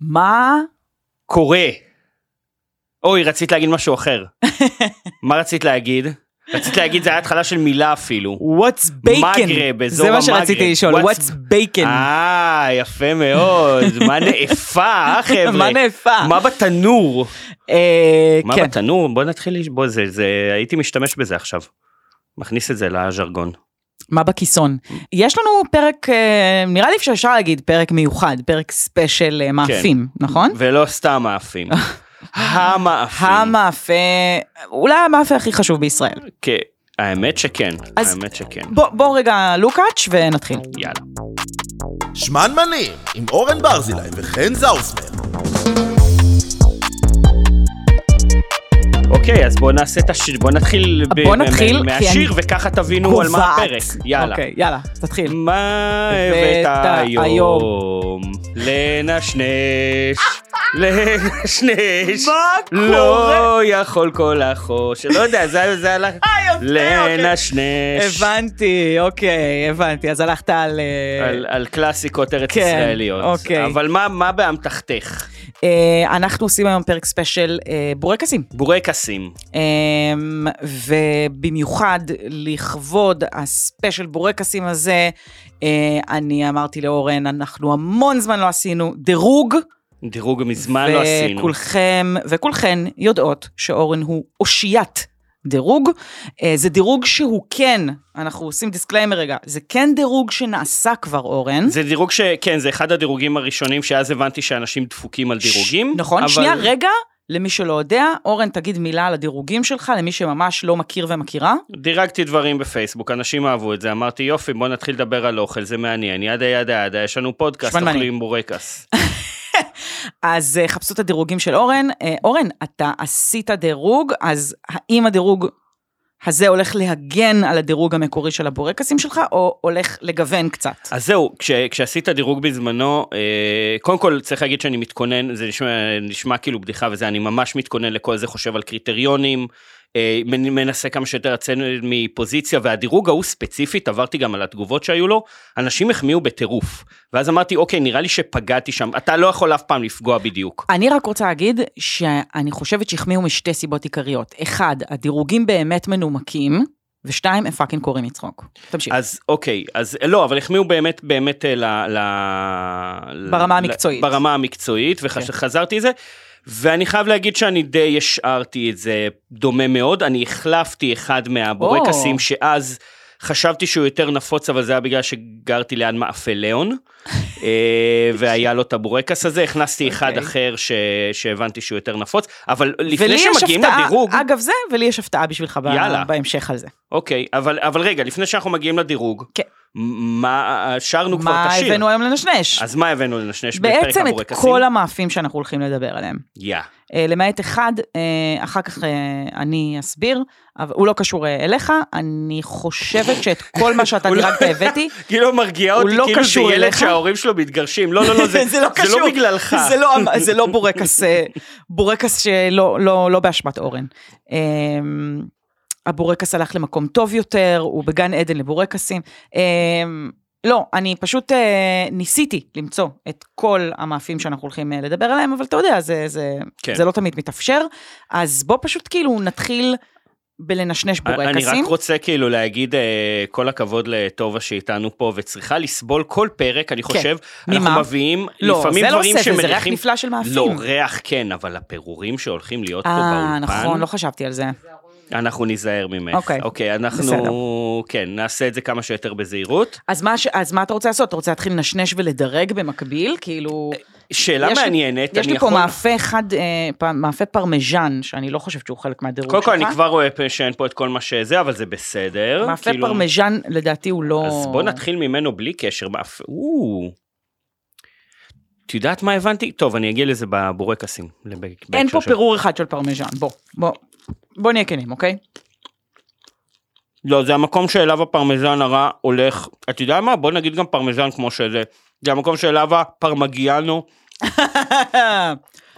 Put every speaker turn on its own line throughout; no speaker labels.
מה?
קורה. אוי, רצית להגיד משהו אחר. מה רצית להגיד? רצית להגיד זה היה התחלה של מילה אפילו.
What's bacon?
מגרב, אזור
זה מה
המגרב.
שרציתי לשאול,
What's-
what's bacon?
אה, יפה מאוד. מה נאפה, חבר'ה?
מה נאפה?
מה בתנור?
אה,
מה
כן.
בתנור? בוא נתחיל, לש- בוא, זה, זה, הייתי משתמש בזה עכשיו. מכניס את זה לז'רגון.
מה בכיסון? יש לנו פרק, אה, נראה לי שאפשר להגיד פרק מיוחד, פרק ספיישל אה, מאפים,
כן.
נכון?
ולא סתם מאפים. המאפים.
המאפה, אולי המאפה הכי חשוב בישראל.
כן, האמת שכן.
אז-
האמת שכן.
בוא, בוא רגע לוקאץ' ונתחיל.
יאללה.
שמנמנים, עם אורן ברזילי וחן זאוסמן.
אוקיי, אז בוא נעשה את השיר, בוא נתחיל ב-
בוא
מ- מ-
נתחיל, כי
מהשיר,
אני-
וככה תבינו על מה הפרק. יאללה.
אוקיי, יאללה, תתחיל.
מה
הבאת
הבאת היום?
היום?
לנשנש, לנשנש.
מה
לא יכול כל החושך. לא יודע, זה זה הלך.
אה, יפה, אוקיי.
לנשנש.
הבנתי, אוקיי, הבנתי, אז הלכת על... אה,
על, על קלאסיקות ארץ
כן,
ישראליות.
אוקיי.
אבל מה, מה באמתחתך?
אה, אנחנו עושים היום פרק ספיישל אה, בורקסים.
בורקסים.
אמ, ובמיוחד לכבוד הספיישל בורקסים הזה, אה, אני אמרתי לאורן, אנחנו המון זמן לא עשינו דירוג,
דירוג מזמן לא עשינו.
וכולכם וכולכן יודעות שאורן הוא אושיית דירוג. אה, זה דירוג שהוא כן, אנחנו עושים דיסקליימר רגע, זה כן דירוג שנעשה כבר, אורן.
זה דירוג ש... כן, זה אחד הדירוגים הראשונים שאז הבנתי שאנשים דפוקים על דירוגים.
ש- נכון,
אבל...
שנייה, רגע. למי שלא יודע, אורן, תגיד מילה על הדירוגים שלך, למי שממש לא מכיר ומכירה.
דירגתי דברים בפייסבוק, אנשים אהבו את זה, אמרתי יופי, בוא נתחיל לדבר על אוכל, זה מעניין, ידה ידה ידה, יש לנו פודקאסט,
שמנמנים.
אוכלים בורקס.
אז אה, חפשו את הדירוגים של אורן. אה, אורן, אתה עשית דירוג, אז האם הדירוג הזה הולך להגן על הדירוג המקורי של הבורקסים שלך, או הולך לגוון קצת?
אז זהו, כש, כשעשית דירוג בזמנו, אה, קודם כל צריך להגיד שאני מתכונן, זה נשמע, נשמע כאילו בדיחה וזה, אני ממש מתכונן לכל זה, חושב על קריטריונים, אה, מנ- מנסה כמה שיותר לצאת מפוזיציה, והדירוג ההוא ספציפית, עברתי גם על התגובות שהיו לו, אנשים החמיאו בטירוף. ואז אמרתי, אוקיי, נראה לי שפגעתי שם, אתה לא יכול אף פעם לפגוע בדיוק.
אני רק רוצה להגיד שאני חושבת שהחמיאו משתי סיבות עיקריות. אחד, הדירוגים באמת מנומקים, ושתיים, הם פאקינג קוראים לצחוק. תמשיך.
אז אוקיי, אז לא, אבל החמיאו באמת, באמת אה, ל... ל... ל-
ברמה
ל-
המקצועית. כן.
ברמה המקצועית, וחזרתי לזה. ואני חייב להגיד שאני די השארתי את זה דומה מאוד, אני החלפתי אחד מהבורקסים
או.
שאז חשבתי שהוא יותר נפוץ, אבל זה היה בגלל שגרתי ליד מאפליאון, אה, והיה לו את הבורקס הזה, הכנסתי אחד
אוקיי.
אחר ש... שהבנתי שהוא יותר נפוץ, אבל לפני
ולי יש
שמגיעים
הפתעה-
לדירוג...
אגב זה, ולי יש הפתעה בשבילך ב-
יאללה.
בהמשך על זה.
אוקיי, אבל, אבל רגע, לפני שאנחנו מגיעים לדירוג,
כן.
מה, שרנו כבר
מה
את השיר.
הבאנו היום לנשנש?
אז מה הבאנו לנשנש בפרק
בעצם את
הבורקסים?
כל המאפים שאנחנו הולכים לדבר עליהם.
יא.
אה, למעט אחד, אה, אחר כך אה, אני אסביר, אבל הוא לא קשור אה, אליך, אני חושבת שאת כל מה שאתה
הוא לא-
דירגת הבאתי,
כאילו מרגיע
הוא
אותי,
לא
כאילו זה
קשור
ילד
אליך?
שההורים שלו מתגרשים. לא, לא, לא, זה, זה לא בגללך.
זה לא, זה לא בורקס, אה, בורקס שלא לא, לא באשמת אורן. אה, הבורקס הלך למקום טוב יותר, הוא בגן עדן לבורקסים. אה, לא, אני פשוט אה, ניסיתי למצוא את כל המאפים שאנחנו הולכים אה, לדבר עליהם, אבל אתה יודע, זה, זה,
כן.
כן. זה לא תמיד מתאפשר. אז בוא פשוט כאילו נתחיל בלנשנש
אני רק
בורקסים.
רוצה כאילו להגיד אה, כל הכבוד לטובה שאיתנו פה, וצריכה לסבול כל פרק, אני חושב. אנחנו
כן. ממה?
מביאים
לא,
לפעמים
זה לא
דברים
עושה, זה, זה ריח
שמריחים...
נפלא של מאפים.
לא, ריח כן, אבל הפירורים שהולכים להיות פה
אה,
באולפן,
נכון, לא חשבתי על זה.
אנחנו ניזהר ממך.
אוקיי.
אוקיי,
בסדר.
אנחנו, כן, נעשה את זה כמה שיותר בזהירות.
אז מה, ש... אז מה אתה רוצה לעשות? אתה רוצה להתחיל לנשנש ולדרג במקביל? כאילו,
שאלה
יש לי-
מעניינת,
יש
אה, אני
לי פה
יכול...
מאפה אחד, אה, פ- מאפה פרמיז'ן, שאני לא חושבת שהוא חלק מהדירוג
קודם
שלך.
כל, אני כבר רואה פה שאין פה את כל מה שזה, אבל זה בסדר.
מאפה פרמיז'ן, לדעתי הוא לא...
כאילו- אז בוא נתחיל ממנו בלי קשר. מאפ- או. את יודעת מה הבנתי? טוב, אני אגיע לזה בבורקסים. לב-
אין
בהקשר
פה
של-
פירור אחד של פרמיז'ן, בוא, בוא. בוא נהיה כנים, אוקיי?
לא, זה המקום שאליו הפרמזן הרע הולך. את יודעת מה? בוא נגיד גם פרמזן כמו שזה. זה המקום שאליו הפרמגיאנו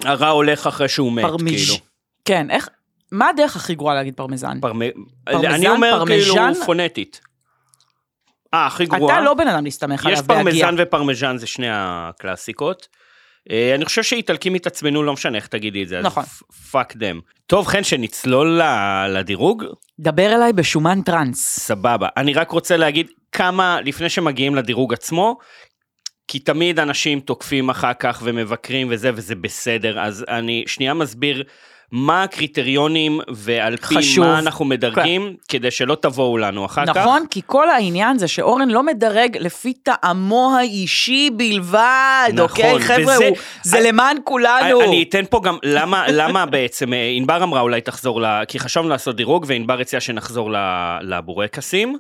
הרע הולך אחרי שהוא מת,
פרמיז'.
כאילו.
כן, איך... מה הדרך הכי גרועה להגיד פרמיזן?
פרמ-
פרמזן,
אני אומר כאילו
פרמיז'ן?
פונטית. אה, הכי גרועה.
אתה לא בן אדם להסתמך
יש
עליו בהגיעה.
פרמזן ופרמז'ן זה שני הקלאסיקות. אה, אני חושב שאיטלקים התעצבנו, לא משנה איך תגידי את זה.
נכון.
פאק דם. טוב, חן, שנצלול ל- לדירוג,
דבר אליי בשומן טראנס.
סבבה. אני רק רוצה להגיד כמה, לפני שמגיעים לדירוג עצמו, כי תמיד אנשים תוקפים אחר כך ומבקרים וזה, וזה בסדר. אז אני שנייה מסביר מה הקריטריונים ועל פי
חשוב.
מה אנחנו מדרגים, כדי שלא תבואו לנו אחר כך.
נכון? כי כל העניין זה שאורן לא מדרג לפי טעמו האישי בלבד,
נכון,
אוקיי, חבר'ה?
וזה-
הוא- זה
אני-
למען כולנו.
אני, אני אתן פה גם למה, למה בעצם, אה, ענבר אמרה אולי תחזור, ל, כי חשבנו לעשות דירוג וענבר הציעה שנחזור ל, לבורקסים.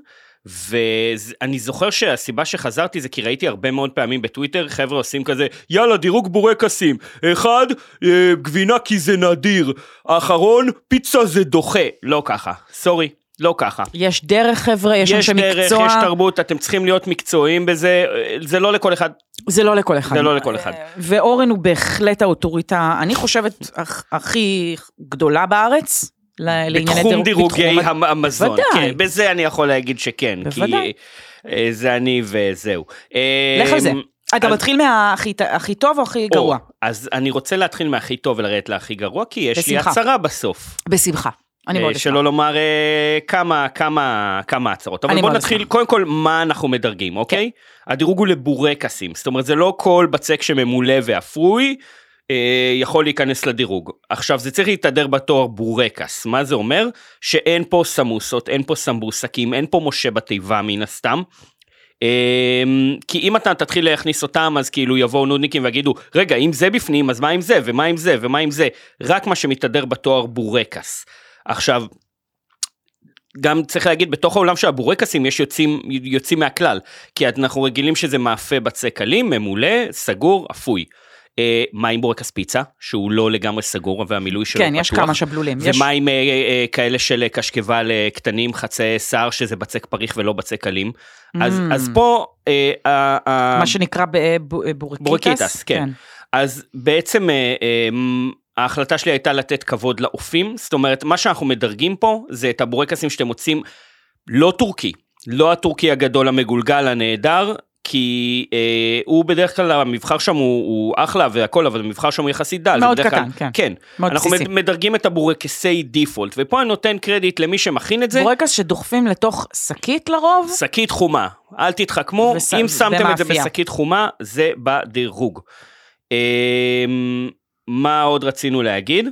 ואני זוכר שהסיבה שחזרתי זה כי ראיתי הרבה מאוד פעמים בטוויטר חבר'ה עושים כזה יאללה דירוג בורקסים אחד אה, גבינה כי זה נדיר אחרון פיצה זה דוחה לא ככה סורי לא ככה
יש דרך, חבר'ה, יש אנשי
דרך
מקצוע.
יש תרבות אתם צריכים להיות מקצועיים בזה אה, זה לא לכל אחד
זה לא לכל אחד.
זה לא לכל אחד
ואורן הוא בהחלט האוטוריטה, אני חושבת, הכ- הכי גדולה בארץ. ל- לענייני
בתחום
דירוג-
דירוגי
בתחום-
המ- המזון,
בוודאי.
כן, בזה אני יכול להגיד שכן, כי
בוודאי.
אה, זה אני וזהו.
לך על זה.
אמ,
אתה
אז-
מתחיל מהכי ט- הכי טוב או הכי גרוע?
או, אז אני רוצה להתחיל מהכי טוב ולרדת להכי גרוע, כי יש לי
בשמחה.
הצהרה בסוף.
בשמחה. אני
אה,
מאוד אשמח.
שלא לומר אה, כמה, כמה, כמה הצהרות. אבל
אני
בואו
מאוד
נתחיל,
אשמח. כן.
קודם כל, מה אנחנו מדרגים, אוקיי? הדירוג הוא לבורקסים, זאת אומרת, זה לא כל בצק שממולא ואפוי. אה, יכול להיכנס לדירוג. עכשיו זה צריך להתהדר בתואר בורקס, מה זה אומר? שאין פה סמוסות, אין פה סמבוסקים, אין פה משה בתיבה מן הסתם. אמ, כי אם אתה תתחיל להכניס אותם אז כאילו יבואו נודניקים ויגידו רגע אם זה בפנים אז מה עם זה ומה עם זה ומה עם זה רק מה שמתהדר בתואר בורקס. עכשיו גם צריך להגיד בתוך העולם של הבורקסים יש יוצאים, יוצאים מהכלל כי אנחנו רגילים שזה מאפה בצק קלים ממולא סגור אפוי. אה, מה עם בורקס פיצה שהוא לא לגמרי סגור והמילוי שלו
כן,
פתוח.
יש כמה שבלולים. יש-
ומה עם אה, אה, כאלה של קשקבל אה, קטנים, חצאי שיער, שזה בצק פריך ולא בצק אלים? אז,
Mm.
אז פה, אה, אה, אה,
מה שנקרא ב- ב- בורקיטס.
בורקיטס, כן. אז בעצם אה, אה, מ, ההחלטה שלי הייתה לתת כבוד לאופים, זאת אומרת, מה שאנחנו מדרגים פה זה את הבורקסים שאתם מוצאים לא טורקי, לא הטורקי הגדול המגולגל הנהדר. כי אה, הוא בדרך כלל, המבחר שם הוא, הוא אחלה והכל, אבל המבחר שם הוא יחסית דל. זה
מאוד
בדרך
קטן, כן.
כן.
מאוד
אנחנו
בסיסי.
מד- מדרגים את הבורקסי דיפולט, ופה אני נותן קרדיט למי שמכין את זה,
בורקס שדוחפים לתוך שקית לרוב,
שקית חומה. אל תתחכמו,
וס-
אם שמתם את זה
במאפייה.
בשקית חומה, זה בדירוג. אמ, מה עוד רצינו להגיד?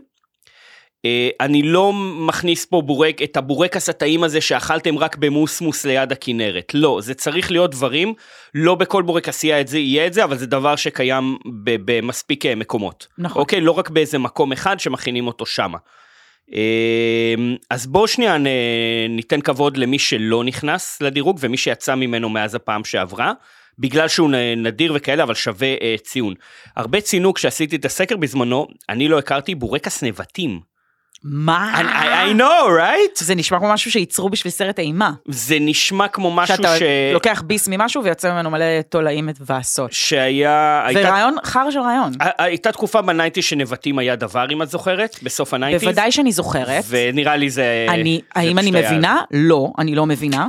אה, אני לא מכניס פה בורק, את הבורקס הטעים הזה שאכלתם רק במוסמוס ליד הכנרת. לא, זה צריך להיות דברים, לא בכל בורקס יהיה את זה, יהיה את זה, אבל זה דבר שקיים ב- במספיק אה, מקומות.
נכון.
אוקיי? לא רק באיזה מקום אחד שמכינים אותו שמה. אמ, אז בואו שנייה נ- ניתן כבוד למי שלא נכנס לדירוג ומי שיצא ממנו מאז הפעם שעברה, בגלל שהוא נ- נדיר וכאלה, אבל שווה אה, ציון. הרבה ציינו כשעשיתי את הסקר בזמנו, אני לא הכרתי בורקס נבטים. I,
מה?
I, I know, right?
זה נשמע כמו משהו שייצרו בשביל סרט אימה.
זה נשמע כמו משהו
שאתה
ש...
לוקח ביס ממשהו ויוצא ממנו מלא תולעים והסות.
שהיה...
זה
הייתה-
רעיון, חר של רעיון.
ה- הייתה תקופה בניינטיז שנבטים היה דבר, אם את זוכרת, בסוף הניינטיז.
בוודאי שאני זוכרת.
ונראה לי זה...
אני,
זה
האם אני
פשוט היה-
מבינה? לא, אני לא מבינה.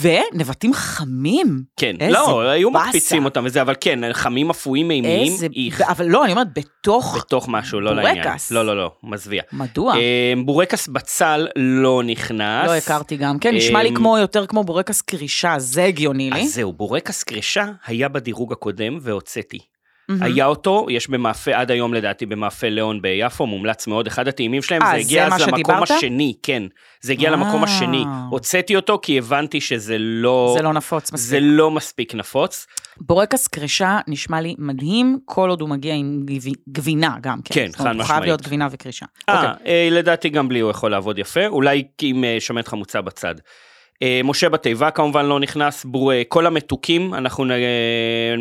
ונבטים חמים.
כן,
איזה
לא, היו
באסה.
מקפיצים אותם וזה, אבל כן, חמים אפויים מימיים,
איזה...
איך,
אבל לא, אני אומרת, בתוך...
בתוך משהו, לא לעניין.
בורקס.
לא, לא, לא, מזוויע.
מדוע?
אה, בורקס בצל לא נכנס.
לא הכרתי גם. כן, נשמע לי
אמ,
כמו יותר כמו בורקס קרישה, זה הגיוני לי.
אז זהו, בורקס קרישה היה בדירוג הקודם והוצאתי.
מהמם.
היה אותו, יש במאפה, עד היום לדעתי, במאפה ליאון ביפו, מומלץ מאוד, אחד הטעימים שלהם,
אה,
זה הגיע
זה מה
אז למקום
שדיברת?
השני, כן. זה הגיע למקום
אה.
השני. הוצאתי אותו כי הבנתי שזה לא...
זה לא נפוץ
זה
מספיק.
לא מספיק נפוץ.
בורקס קרישה נשמע לי מדהים, כל עוד הוא מגיע עם גבי- גבינה גם כן.
כן,
זאת אומרת,
חד
הוא חייב
משמעית.
להיות גבינה וקרישה. אוקיי.
אה, אה, לדעתי גם בלי הוא יכול לעבוד יפה, אולי עם אה, שמן חמוצה בצד. אה, משה בתיבה כמובן לא נכנס, בור- אה, כל המתוקים אנחנו נ- אה,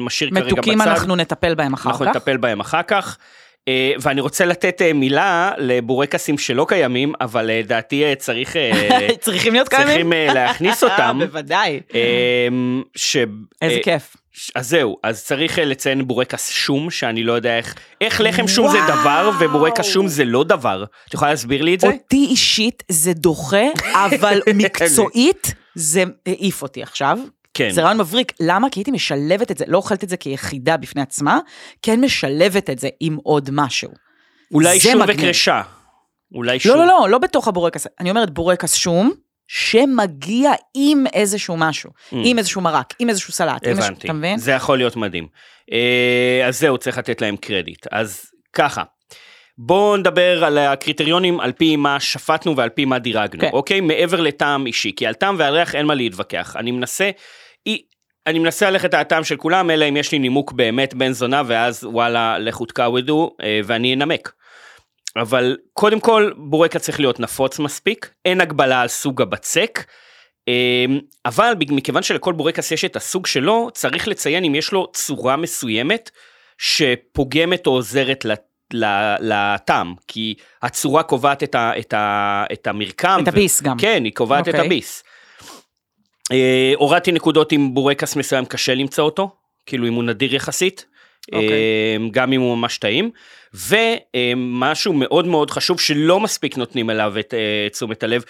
נשאיר כרגע בצד.
מתוקים אנחנו נטפל בהם אחר
אנחנו
כך.
נטפל בהם אחר כך. אה, ואני רוצה לתת אה, מילה לבורקסים שלא קיימים, אבל אה, לדעתי אה, צריך, אה,
צריכים להיות קיימים?
צריכים אה, להכניס אותם.
אה, בוודאי.
אה, ש...
איזה
אה,
כיף.
ש- אז זהו, אז צריך אה, לציין בורקס שום, שאני לא יודע איך, איך לחם שום זה דבר
וואו.
ובורקס שום זה לא דבר. את יכולה להסביר לי את זה? כן.
אותי אישית זה דוחה, אבל מקצועית זה העיף אותי עכשיו.
כן.
זה רעיון מבריק. למה? כי הייתי משלבת את זה, לא אוכלת את זה כיחידה בפני עצמה, כן משלבת את זה עם עוד משהו. זה
אולי שום
מגניב.
וקרשה. אולי שום.
לא, לא, לא, לא בתוך הבורקס. אני אומרת בורקס שום, שמגיע עם איזשהו משהו. עם איזשהו מרק, עם איזשהו סלט. עם איזשהו-
Hmm. Mm, הבנתי.
אתה מבין?
זה יכול להיות מדהים. אה, אז זהו, צריך לתת להם קרדיט. אז ככה. בואו נדבר על הקריטריונים על פי מה שפטנו ועל פי מה דירגנו,
כן.
אוקיי? מעבר לטעם אישי, כי על טעם ועל ריח אין מה להתווכח. אני מנסה, אי- אני מנסה ללכת על הטעם של כולם, אלא אם יש לי נימוק באמת בן זונה, ואז וואלה, לכו תקאוודו, אה, ואני אנמק. אבל קודם כל, בורקה צריך להיות נפוץ מספיק, אין הגבלה על סוג הבצק, אמ, אבל בג- מכיוון שלכל בורקס יש את הסוג שלו, צריך לציין אם יש לו צורה מסוימת שפוגמת או עוזרת ל- ל- לטעם, כי הצורה קובעת את, ה, את, ה, את המרקם.
את הביס גם.
כן, היא קובעת את
אוקיי.
הביס. אה, הורדתי נקודות אם בורקס מסוים קשה למצוא אותו, כאילו אם הוא נדיר יחסית,
אוקיי.
אה, גם אם הוא ממש טעים, ומשהו מאוד מאוד חשוב שלא מספיק נותנים אליו את אה, תשומת הלב,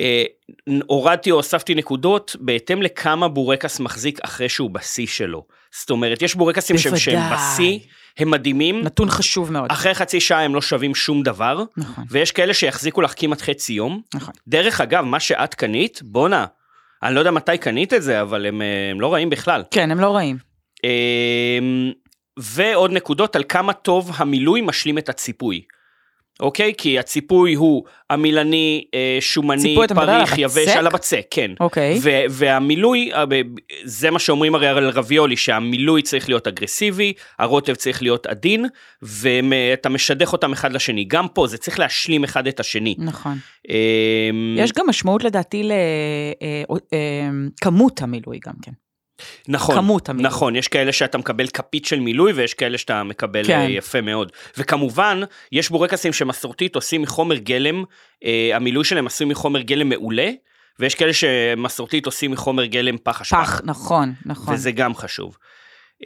אה, הורדתי או הוספתי נקודות בהתאם לכמה בורקס מחזיק אחרי שהוא בשיא שלו. זאת אומרת, יש בורקסים שהם שהם
בוודאי. נכון.
בשיא, הם מדהימים,
נתון חשוב מאוד.
אחרי חצי שעה הם לא שווים שום דבר,
נכון,
ויש כאלה שיחזיקו לך כמעט חצי יום.
נכון.
דרך אגב, מה שאת קנית, בואנה, אני לא יודע מתי קנית את זה, אבל הם, אה, הם לא רעים בכלל.
כן, הם לא רעים.
אמ, ועוד נקודות על כמה טוב המילוי משלים את הציפוי. אוקיי? כי הציפוי הוא עמילני, אה, שומני,
ציפוי, אתה מדבר על
פריך, יבש,
הבצק?
על הבצק, כן.
אוקיי.
ו- והמילוי, אה, ב- זה מה שאומרים הרי על רביולי, שהמילוי צריך להיות אגרסיבי, הרוטב צריך להיות עדין, ואתה משדך אותם אחד לשני. גם פה זה צריך להשלים אחד את השני.
נכון.
Hmm. אמ,
יש גם משמעות לדעתי אה, לכמות אמ, המילוי גם כן.
נכון,
כמות המילוי.
נכון, יש כאלה שאתה מקבל כפית של מילוי ויש כאלה שאתה מקבל
כן.
כן. יפה מאוד. וכמובן, יש בורקסים שמסורתית עושים מחומר גלם, אה, המילוי שלהם עשוי מחומר גלם מעולה, ויש כאלה שמסורתית עושים מחומר גלם פח אשפה.
פח, נכון, נכון.
וזה גם חשוב.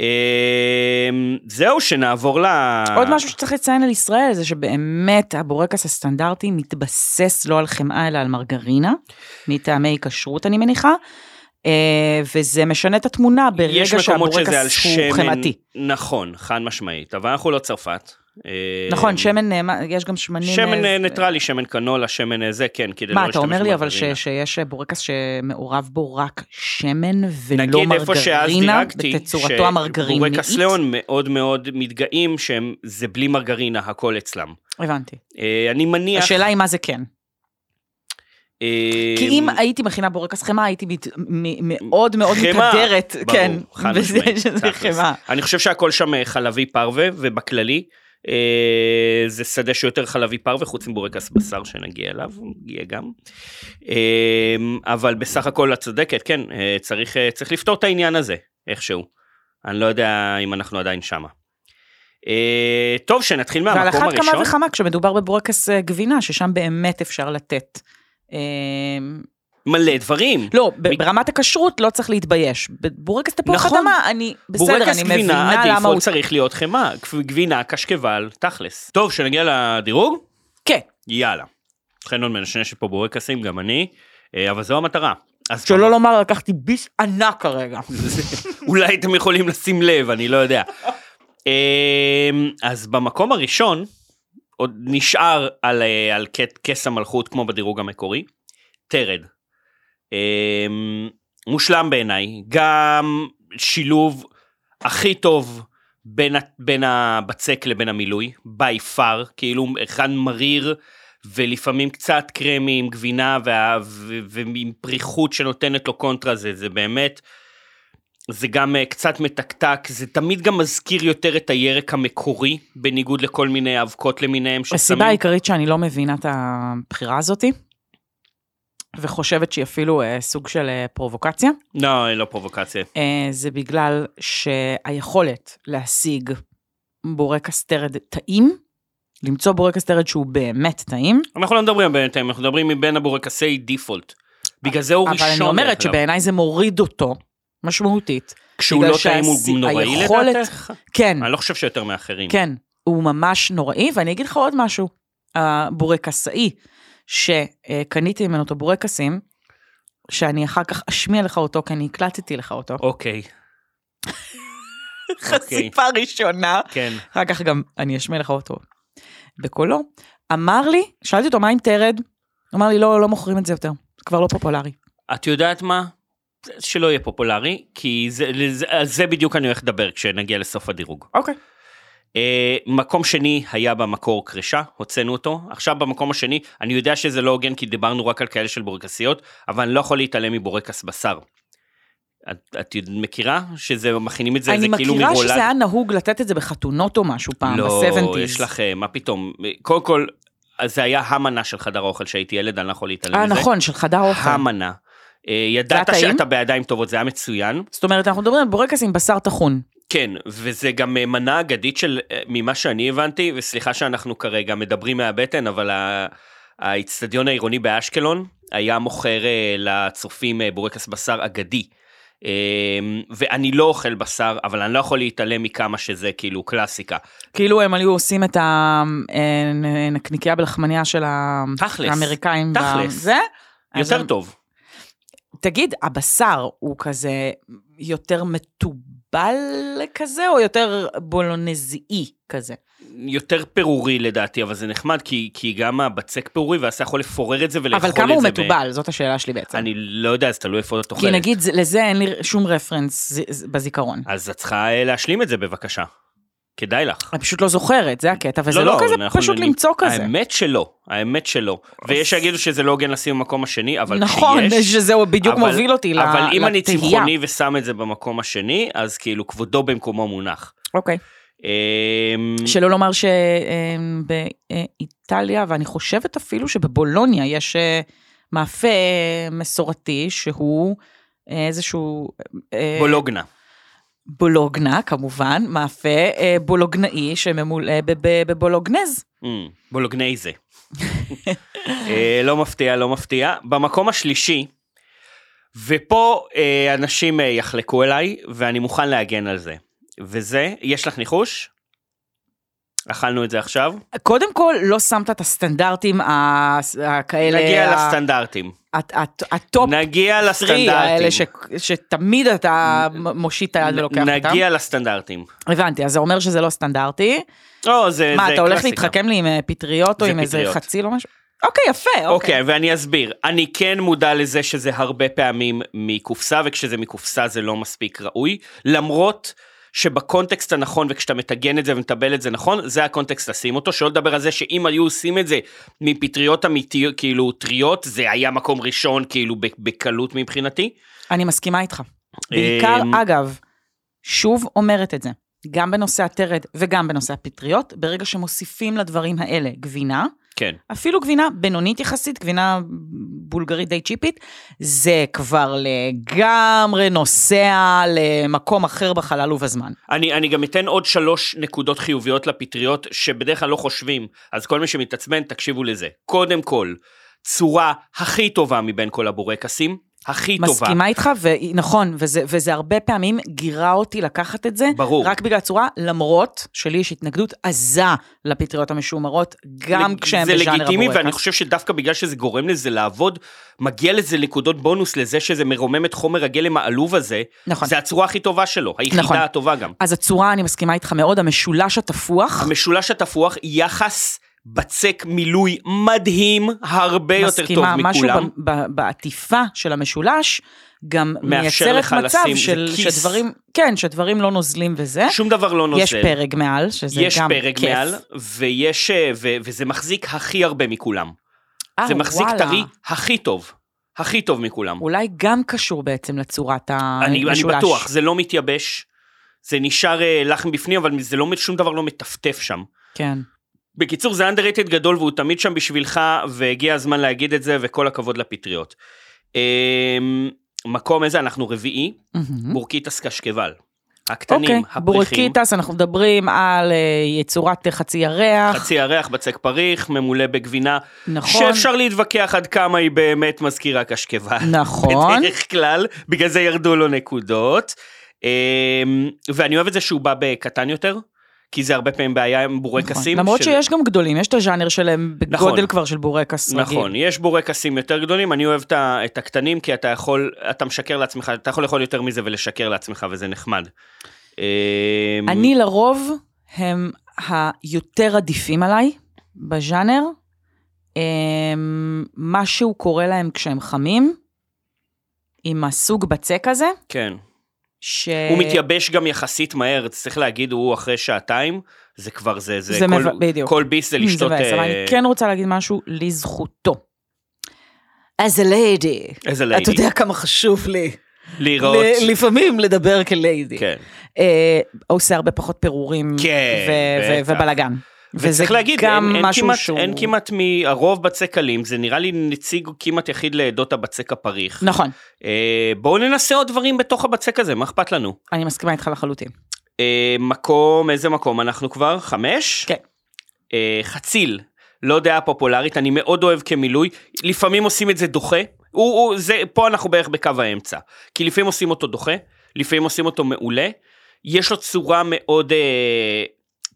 אה, זהו, שנעבור ל...
עוד
אה.
משהו שצריך לציין על ישראל זה שבאמת הבורקס הסטנדרטי מתבסס לא על חמאה אלא על מרגרינה, מטעמי כשרות אני מניחה, אה, וזה משנה את התמונה ברגע
יש מקומות שזה על
שהבורקס הוא
שמן,
חמאתי.
נכון, חד משמעית, אבל אנחנו לא צרפת. אה,
נכון, שמן, אה, מה- יש גם שמנים...
שמן
אה,
אה, ניטרלי, שמן קנולה, שמן אה, זה, כן, כדי לא
מה, אתה אומר לי
להשתמש
אבל ש-
במרגרינה.
שיש בורקס שמעורב בו רק שמן
נגיד
ולא
איפה שאז
לא מרגרינה,
דירגתי,
בתצורתו המרגרינית?
שבורקס ליאון מאוד מאוד מתגאים שהם, זה בלי מרגרינה, הכל אצלם.
הבנתי.
אה, אני מניח...
השאלה היא מה זה כן.
אה,
כי אם
אמ,
הייתי מכינה בורקס חמאה, הייתי מת- מ- מאוד מאוד
חמאה,
מתהדרת,
ברור,
כן,
חד
בזה
משמעית,
שזה
תכלס.
חמאה.
אני חושב שהכל שם אה, חלבי פרווה, ובכללי, אה, זה שדה שיותר חלבי פרווה, חוץ מבורקס בשר שנגיע אליו, נגיע גם. אה, אבל בסך הכל את צודקת, כן, אה, צריך, אה, צריך לפתור את העניין הזה, איכשהו. אני לא יודע אם אנחנו עדיין שמה. אה, טוב, שנתחיל מהמקום
ועל
הראשון.
אחת כמה וכמה כשמדובר בבורקס אה, גבינה, ששם באמת אפשר לתת. אמ,
מלא דברים.
לא, ב-
מ-
ברמת הכשרות לא צריך להתבייש. בבורקס תפוח
נכון.
אדמה, אני, בסדר,
בורקס
אני
גבינה,
מבינה למה הוא...
הדיפולט צריך להיות חמאה, גבינה, קשקבל, תכלס. טוב, שנגיע לדירוג?
כן,
יאללה. חנון מנשנש פה בורקסים, גם אני, אה, אבל זו המטרה. אז
שלא לא- לומר, לקחתי ביס ענק כרגע.
אולי אתם יכולים לשים לב, אני לא יודע. אה, אז במקום הראשון, עוד נשאר על, אה, על כס- כס המלכות, כמו בדירוג המקורי, תרד. אה, מושלם בעיניי, גם שילוב הכי טוב בין, ה- בין הבצק לבין המילוי, by far, כאילו אחד מריר. ולפעמים קצת קרמי עם גבינה וה- ו- ועם פריחות שנותנת לו קונטרה, זה, זה באמת, זה גם אה, קצת מתקתק, זה תמיד גם מזכיר יותר את הירק המקורי, בניגוד לכל מיני אבקות למיניהם ששמים.
הסיבה העיקרית שאני לא מבינה את הבחירה הזאתי, וחושבת שהיא אפילו אה, סוג של אה, פרובוקציה,
לא, לא פרובוקציה.
אה, זה בגלל שהיכולת להשיג בורקס טרד טעים, למצוא בורקס טרד שהוא באמת טעים,
אנחנו לא מדברים בינתיים, אנחנו מדברים מבין הבורקסי דיפולט. בגלל זה הוא ראשון.
אבל אני
דרך
אומרת
אגב.
שבעיניי זה מוריד אותו משמעותית.
כשהוא
בגלל
לא טעים הוא
שהסי-
נוראי
היכולת-
לדעתך?
כן,
אני לא חושב שיותר מאחרים.
כן, הוא ממש נוראי, ואני אגיד לך עוד משהו, הבורקסאי, שקניתי ממנו את הבורקסים, שאני אחר כך אשמיע לך אותו, כי אני הקלטתי לך אותו.
אוקיי,
חשיפה ראשונה.
כן.
אחר כך גם אני אשמיע לך אותו בקולו. אמר לי, שאלתי אותו, מה עם טרד? הוא אמר לי, לא, לא מוכרים את זה יותר, זה כבר לא פופולרי.
את יודעת מה? שלא יהיה פופולרי, כי זה, לזה- על זה בדיוק אני הולך לדבר כשנגיע לסוף הדירוג.
אוקיי.
אה, מקום שני היה במקור קרישה, הוצאנו אותו. עכשיו במקום השני, אני יודע שזה לא הוגן כי דיברנו רק על כאלה של בורקסיות, אבל אני לא יכול להתעלם מבורקס בשר. את, את יודע- מכירה שזה, מכינים את זה,
אני
זה כאילו
מכירה
מרולד?
שזה היה נהוג לתת את זה בחתונות או משהו פעם, ב-70's.
לא, יש לך, אה, מה פתאום, אה, קודם כל, אז זה היה המנה של חדר האוכל שהייתי ילד, אני לא יכול להתעלם
אה,
מזה.
נכון, של חדר אוכל.
המנה. אה, ידעת
טעים?
שאתה בידיים טובות, זה היה מצוין.
זאת אומרת, אנחנו מדברים על בורקס עם בשר טחון.
כן, וזה גם אה, מנה אגדית של, אה, ממה שאני הבנתי, וסליחה שאנחנו כרגע מדברים מהבטן, אבל ה- האיצטדיון העירוני באשקלון היה מוכר אה, לצופים אה, בורקס בשר אגדי. אה, ואני לא אוכל בשר, אבל אני לא יכול להתעלם מכמה שזה כאילו קלאסיקה.
כאילו הם היו עושים את הנקניקיה בלחמניה של ה-
תכלס,
האמריקאים. ב-
תכלס.
זה? אז
יותר
הם-
טוב.
תגיד, הבשר הוא כזה יותר מתובל כזה, או יותר בולונזיאי כזה?
יותר פירורי לדעתי, אבל זה נחמד, כי, כי גם הבצק פירורי, ואז אתה יכול לפורר את זה ולאכול את זה.
אבל כמה הוא
ב-
מתובל? זאת השאלה שלי בעצם.
אני לא יודע, אז תלוי איפה אתה אוכל.
כי נגיד, זה- לזה אין לי שום רפרנס ז- ז- בזיכרון.
אז את צריכה אה, להשלים את זה בבקשה. כדאי לך.
אני פשוט לא זוכרת, זה הקטע, וזה לא כזה
אנחנו
פשוט
נגיד-
למצוא כזה.
האמת שלא, האמת שלא. ויש שיגידו שזה לא הוגן לשים במקום השני, אבל כשיש...
נכון, שזה בדיוק
אבל-
מוביל אותי ל- לתהייה.
אבל אם אני צמחוני ושם את זה במקום השני, אז כאילו כבודו במקומו מונח.
אוקיי.
אמ,
שלא לומר שבאיטליה, ואני חושבת אפילו שבבולוניה יש אה, מאפה אה, מסורתי שהוא אה, איזשהו... אה,
בולוגנה.
בולוגנה, כמובן, מאפה אה, בולוגנאי שממולא בב- בבולוגנז.
אמ, בולוגני זה. אה, לא מפתיע, לא מפתיע. במקום השלישי, ופה אה, אנשים אה, יחלקו אליי, ואני מוכן להגן על זה. וזה, יש לך ניחוש? אכלנו את זה עכשיו?
קודם כל, לא שמת את הסטנדרטים אה, ה- הכאלה...
נגיע
ה-
לסטנדרטים.
הט- הט- הטופ
נגיע
טרי
לסטנדרטים.
האלה ש- שתמיד אתה מ- מושיט את היד ולוקח אותם.
נגיע לסטנדרטים.
הבנתי, אז זה אומר שזה לא סטנדרטי.
לא, זה זה
מה, אתה הולך
קלאסיקה.
להתחכם לי עם אה, פטריות או
זה
עם איזה
פטריות.
חציל או משהו? אוקיי, יפה, אוקיי.
אוקיי, ואני אסביר. אני כן מודע לזה שזה הרבה פעמים מקופסה, וכשזה מקופסה זה לא מספיק ראוי, למרות שבקונטקסט הנכון, וכשאתה מטגן את זה ומטבל את זה נכון, זה הקונטקסט לשים אותו, שלא לדבר על זה שאם היו עושים את זה מפטריות אמיתיות, כאילו טריות, זה היה מקום ראשון, כאילו, ב- בקלות מבחינתי.
אני מסכימה איתך. בעיקר,
אמ,
אגב, שוב אומרת את זה, גם בנושא הטרד וגם בנושא הפטריות, ברגע שמוסיפים לדברים האלה גבינה,
כן.
אפילו גבינה בינונית יחסית, גבינה בולגרית די צ'יפית, זה כבר לגמרי נוסע למקום אחר בחלל ובזמן.
אני, אני גם אתן עוד שלוש נקודות חיוביות לפטריות שבדרך כלל לא חושבים, אז כל מי שמתעצבן, תקשיבו לזה. קודם כל, צורה הכי טובה מבין כל הבורקסים, הכי טובה.
מסכימה איתך, ונכון, וזה, וזה הרבה פעמים גירה אותי לקחת את זה,
ברור.
רק בגלל הצורה, למרות שלי יש התנגדות עזה לפטריות המשומרות, גם
לג-
כשהן בז'אנר הבורקס.
זה לגיטימי, ואני חושב שדווקא בגלל שזה גורם לזה לעבוד, מגיע לזה נקודות בונוס לזה שזה מרומם את חומר הגלם העלוב הזה.
נכון.
זה הצורה הכי טובה שלו, היחידה
נכון.
הטובה גם.
אז הצורה, אני מסכימה איתך מאוד, המשולש התפוח,
המשולש התפוח, יחס בצק מילוי מדהים, הרבה יותר טוב
מסכימה, משהו
מכולם.
ב- ב- בעטיפה של המשולש, גם
מאפשר
מייצרת
לך
מצב
לשים, זה
של,
כיס.
שדברים, כן, שדברים לא נוזלים וזה.
שום דבר לא נוזל.
יש פרק מעל, שזה
יש
גם
פרק
כיף.
מעל, ויש, אה, ו, וזה מחזיק הכי הרבה מכולם.
אה,
זה מחזיק
וואלה.
טרי הכי טוב, הכי טוב מכולם.
אולי גם קשור בעצם לצורת
אני,
המשולש.
אני בטוח, זה לא מתייבש, זה נשאר אה, לחם בפנים, אבל זה לא, שום דבר לא מטפטף שם.
כן.
בקיצור, זה underrated גדול והוא תמיד שם בשבילך, והגיע הזמן להגיד את זה, וכל הכבוד לפטריות. אמ, מקום איזה, אנחנו רביעי,
מהמם.
בורקיטס קשקבל. הקטנים,
Mm-hmm. אוקיי,
הפריחים,
בורקיטס, אנחנו מדברים על אה, יצורת אה, חצי ירח,
חצי ירח, בצק פריך, ממולא בגבינה,
נכון,
שאפשר להתווכח עד כמה היא באמת מזכירה קשקבה.
נכון,
בדרך כלל, בגלל זה ירדו לו נקודות. אמ, ואני אוהב את זה שהוא בא בקטן יותר, כי זה הרבה פעמים בעיה עם בורקסים.
נכון. למרות
שזה-
שיש גם גדולים, יש את הז'אנר שלהם
נכון.
בגודל כבר של בורקס רגיל.
נכון, יש בורקסים יותר גדולים, אני אוהב את ה- את הקטנים, כי אתה יכול, אתה משקר לעצמך, אתה יכול לאכול יותר מזה ולשקר לעצמך, וזה נחמד. אמ,
אני לרוב הם היותר עדיפים עליי בז'אנר. אמ, משהו קורה להם כשהם חמים, עם הסוג בצק הזה,
כן.
ש...
הוא מתייבש גם יחסית מהר, צריך להגיד, הוא אחרי שעתיים, זה כבר זה, זה,
זה
כל,
מב- בדיוק.
כל ביס זה לשתות...
מבאס, אבל
אה,
אני כן רוצה להגיד משהו לזכותו. As a lady.
איזה ליידי.
אתה יודע כמה חשוב לי.
להיראות.
ל- לפעמים לדבר כליידי.
כן.
אה, עושה הרבה פחות פירורים.
כן,
ו- ו-
בטח.
ובלאגן. וזה
וצריך להגיד,
גם
אין, אין,
משהו
כמעט,
שהוא...
אין כמעט מהרוב בצק קלים, זה נראה לי נציג כמעט יחיד לעדות הבצק הפריך.
נכון,
אה, בואו ננסה עוד דברים בתוך הבצק הזה, מה אכפת לנו?
אני מסכימה איתך לחלוטין.
אה, מקום, איזה מקום אנחנו כבר? חמש?
כן.
אה, חציל, לא דעה פופולרית, אני מאוד אוהב כמילוי, לפעמים עושים את זה דוחה, הוא, הוא, זה, פה אנחנו בערך בקו האמצע, כי לפעמים עושים אותו דוחה, לפעמים עושים אותו מעולה, יש לו צורה מאוד, אה,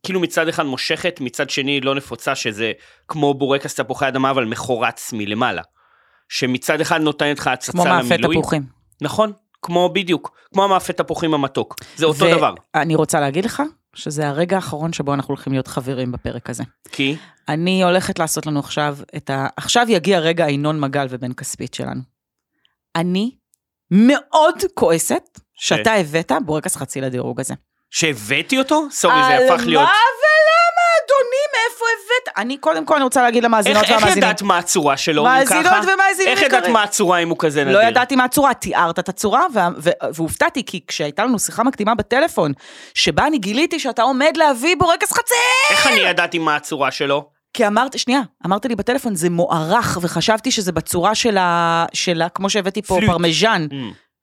כאילו מצד אחד מושכת, מצד שני לא נפוצה, שזה כמו בורקס תפוחי אדמה, אבל מחורץ מלמעלה. שמצד אחד נותן לך הצצה
כמו מאפה
למילוי.
תפוחים.
נכון, כמו בדיוק, כמו המאפה תפוחים המתוק, זה אותו
ו-
דבר.
אני רוצה להגיד לך שזה הרגע האחרון שבו אנחנו הולכים להיות חברים בפרק הזה.
כי?
אני הולכת לעשות לנו עכשיו את ה... עכשיו יגיע רגע ינון מגל ובן כספית שלנו. אני מאוד כועסת שאתה
כן.
הבאת בורקס חצי לדירוג הזה.
שהבאתי אותו? סורי, זה הפך להיות...
על מה ולמה, אדוני, מאיפה הבאת? אני קודם כל אני רוצה להגיד
איך
למאזינות
איך
והמאזינים.
ידעת מה הצורה שלו, אם ככה?
מאזינות ומאזינים
איך ידעת
יקרים.
מה הצורה אם הוא כזה נדיר?
לא ידעתי מה הצורה, תיארת את הצורה, וה- ו- והופתעתי, כי כשהייתה לנו שיחה מקדימה בטלפון, שבה אני גיליתי שאתה עומד להביא בורקס חצי!
איך אני ידעתי מה הצורה שלו?
כי אמרת, שנייה, אמרת לי בטלפון, זה מוערך, וחשבתי שזה בצורה של ה... של ה... כמו שהבאתי פה,
פלוט.
פרמיז'ן.
Mm.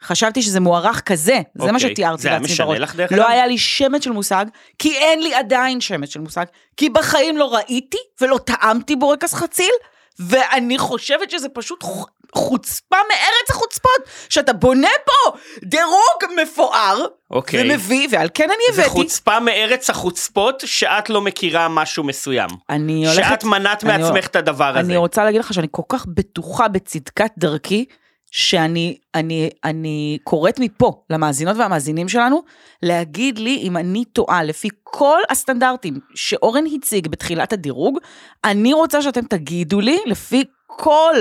חשבתי שזה מוערך כזה, זה מה
אוקיי.
שתיארתי
זה היה
לעצמי
משנה
בראש.
לך, דרך
לא
אגב?
היה לי שמץ של מושג, כי אין לי עדיין שמץ של מושג, כי בחיים לא ראיתי ולא טעמתי בורקס חציל, ואני חושבת שזה פשוט ח- חוצפה מארץ החוצפות, שאתה בונה פה דירוג מפואר,
אוקיי.
ומביא, ועל כן אני
זה
הבאתי.
חוצפה מארץ החוצפות שאת לא מכירה משהו מסוים.
אני הולכת...
שאת מנעת
אני-
מעצמך את הדבר הזה.
אני רוצה להגיד לך שאני כל כך בטוחה בצדקת דרכי, שאני אני, אני קוראת מפה למאזינות והמאזינים שלנו, להגיד לי אם אני טועה לפי כל הסטנדרטים שאורן הציג בתחילת הדירוג, אני רוצה שאתם תגידו לי לפי כל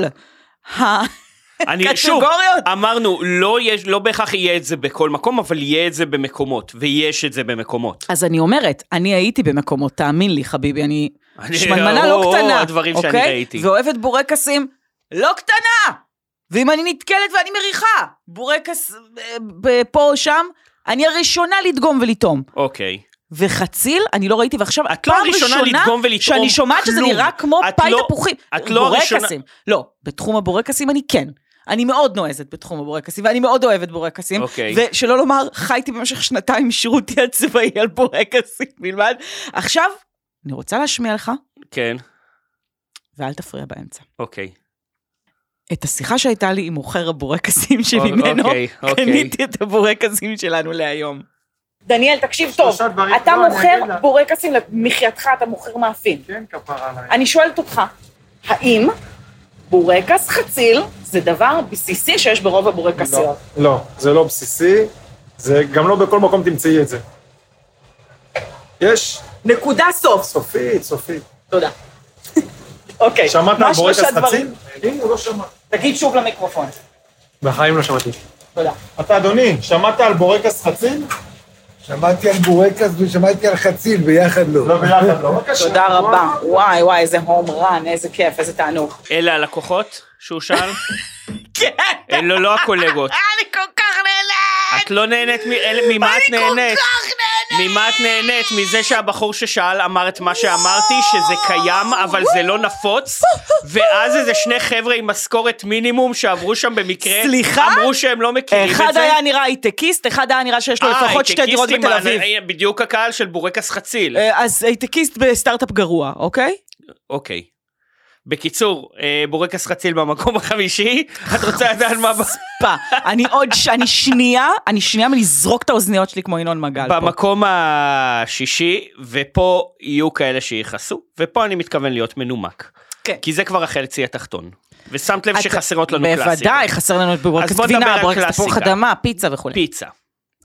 אני- שוב,
הקטגוריות.
אמרנו, לא יש- לא בהכרח יהיה את זה בכל מקום, אבל יהיה את זה במקומות, ויש את זה במקומות.
אז אני אומרת, אני הייתי במקומות, תאמין לי חביבי, אני
אני-
שמנמנה
או,
לא
או,
קטנה,
הדברים שאני
אוקיי?
ראיתי.
ואוהבת בורקסים לא קטנה! ואם אני נתקלת ואני מריחה בורקס אה, ב- פה או שם, אני הראשונה לדגום ולטעום.
אוקיי.
וחציל, אני לא ראיתי, ועכשיו
את לא הראשונה לדגום ולטעום
שאני שומעת שזה
כלום.
נראה כמו
את
פאי
לא-
תפוחים.
את לא הראשונה-
בורקסים. לא, בתחום הבורקסים אני כן. אני מאוד נועזת בתחום הבורקסים, ואני מאוד אוהבת בורקסים.
אוקיי.
ושלא לומר, חייתי במשך שנתיים עם שירותי הצבאי על בורקסים בלבד. עכשיו, אני רוצה להשמיע לך,
כן,
ואל תפריע באמצע.
אוקיי.
את השיחה שהייתה לי עם מוכר הבורקסים שממנו
אוקיי, אוקיי.
קניתי את הבורקסים שלנו להיום.
דניאל, תקשיב טוב,
שלושה דברים.
אתה
לא, אני אגיד
מוכר
לך.
בורקסים למחייתך, אתה מוכר מאפים.
כן, כפרה עליי.
אני שואלת אותך, האם בורקס חציל זה דבר בסיסי שיש ברוב הבורקסיות?
לא, לא, זה לא בסיסי, זה גם לא בכל מקום תמצאי את זה. יש,
נקודה סוף.
סופית, סופית.
תודה. אוקיי,
שמעת
מה
על בורקס
שלושה
חצי?
דברים?
הנה, הוא לא שמע.
תגיד שוב למיקרופון.
בחיים לא שמעתי.
תודה.
אתה, אדוני, שמעת על בורקס חצין?
שמעתי על בורקס ושמעתי על חציל, ביחד לא.
לא, ביחד לא. בבקשה.
תודה רבה. וואי, וואי, איזה הום רן, איזה כיף, איזה תענוג.
אלה הלקוחות שהוא שאל?
כן, אה,
אלו לא הקולגות.
אני כל כך נהנית!
את לא נהנית, מ- אלה- ממה את
אני כל
נהנית?
כך נהנית!
ממה את נהנית? מזה שהבחור ששאל אמר את מה שאמרתי, שזה קיים, אבל זה לא נפוץ, ואז איזה שני חבר'ה עם משכורת מינימום שעברו שם במקרה,
סליחה?
אמרו שהם לא מכירים את זה.
אחד היה נראה הייטקיסט, אחד היה נראה שיש לו
אה,
לפחות שתי דירות
הייטקיסטים,
בתל אביב.
אה, בדיוק הקהל של בורקס חציל.
אה, אז הייטקיסט בסטארט-אפ גרוע, אוקיי?
אוקיי. בקיצור, אה, בורקס חציל במקום החמישי, את רוצה לדעת מה... ב-
ספה. אני עוד, ש- אני שנייה, אני שנייה מלזרוק את האוזניות שלי כמו ינון מגל פה.
במקום השישי, ופה יהיו כאלה שיכעסו, ופה אני מתכוון להיות מנומק.
כן.
כי זה כבר החצי התחתון. ושמת לב
אתה-
שחסרות לנו קלאסיקה.
בוודאי, חסר לנו את בורקס
אז בוא נדבר
גבינה,
על
בורקס תפוח
קלאסיקה.
אדמה, פיצה וכולי.
פיצה.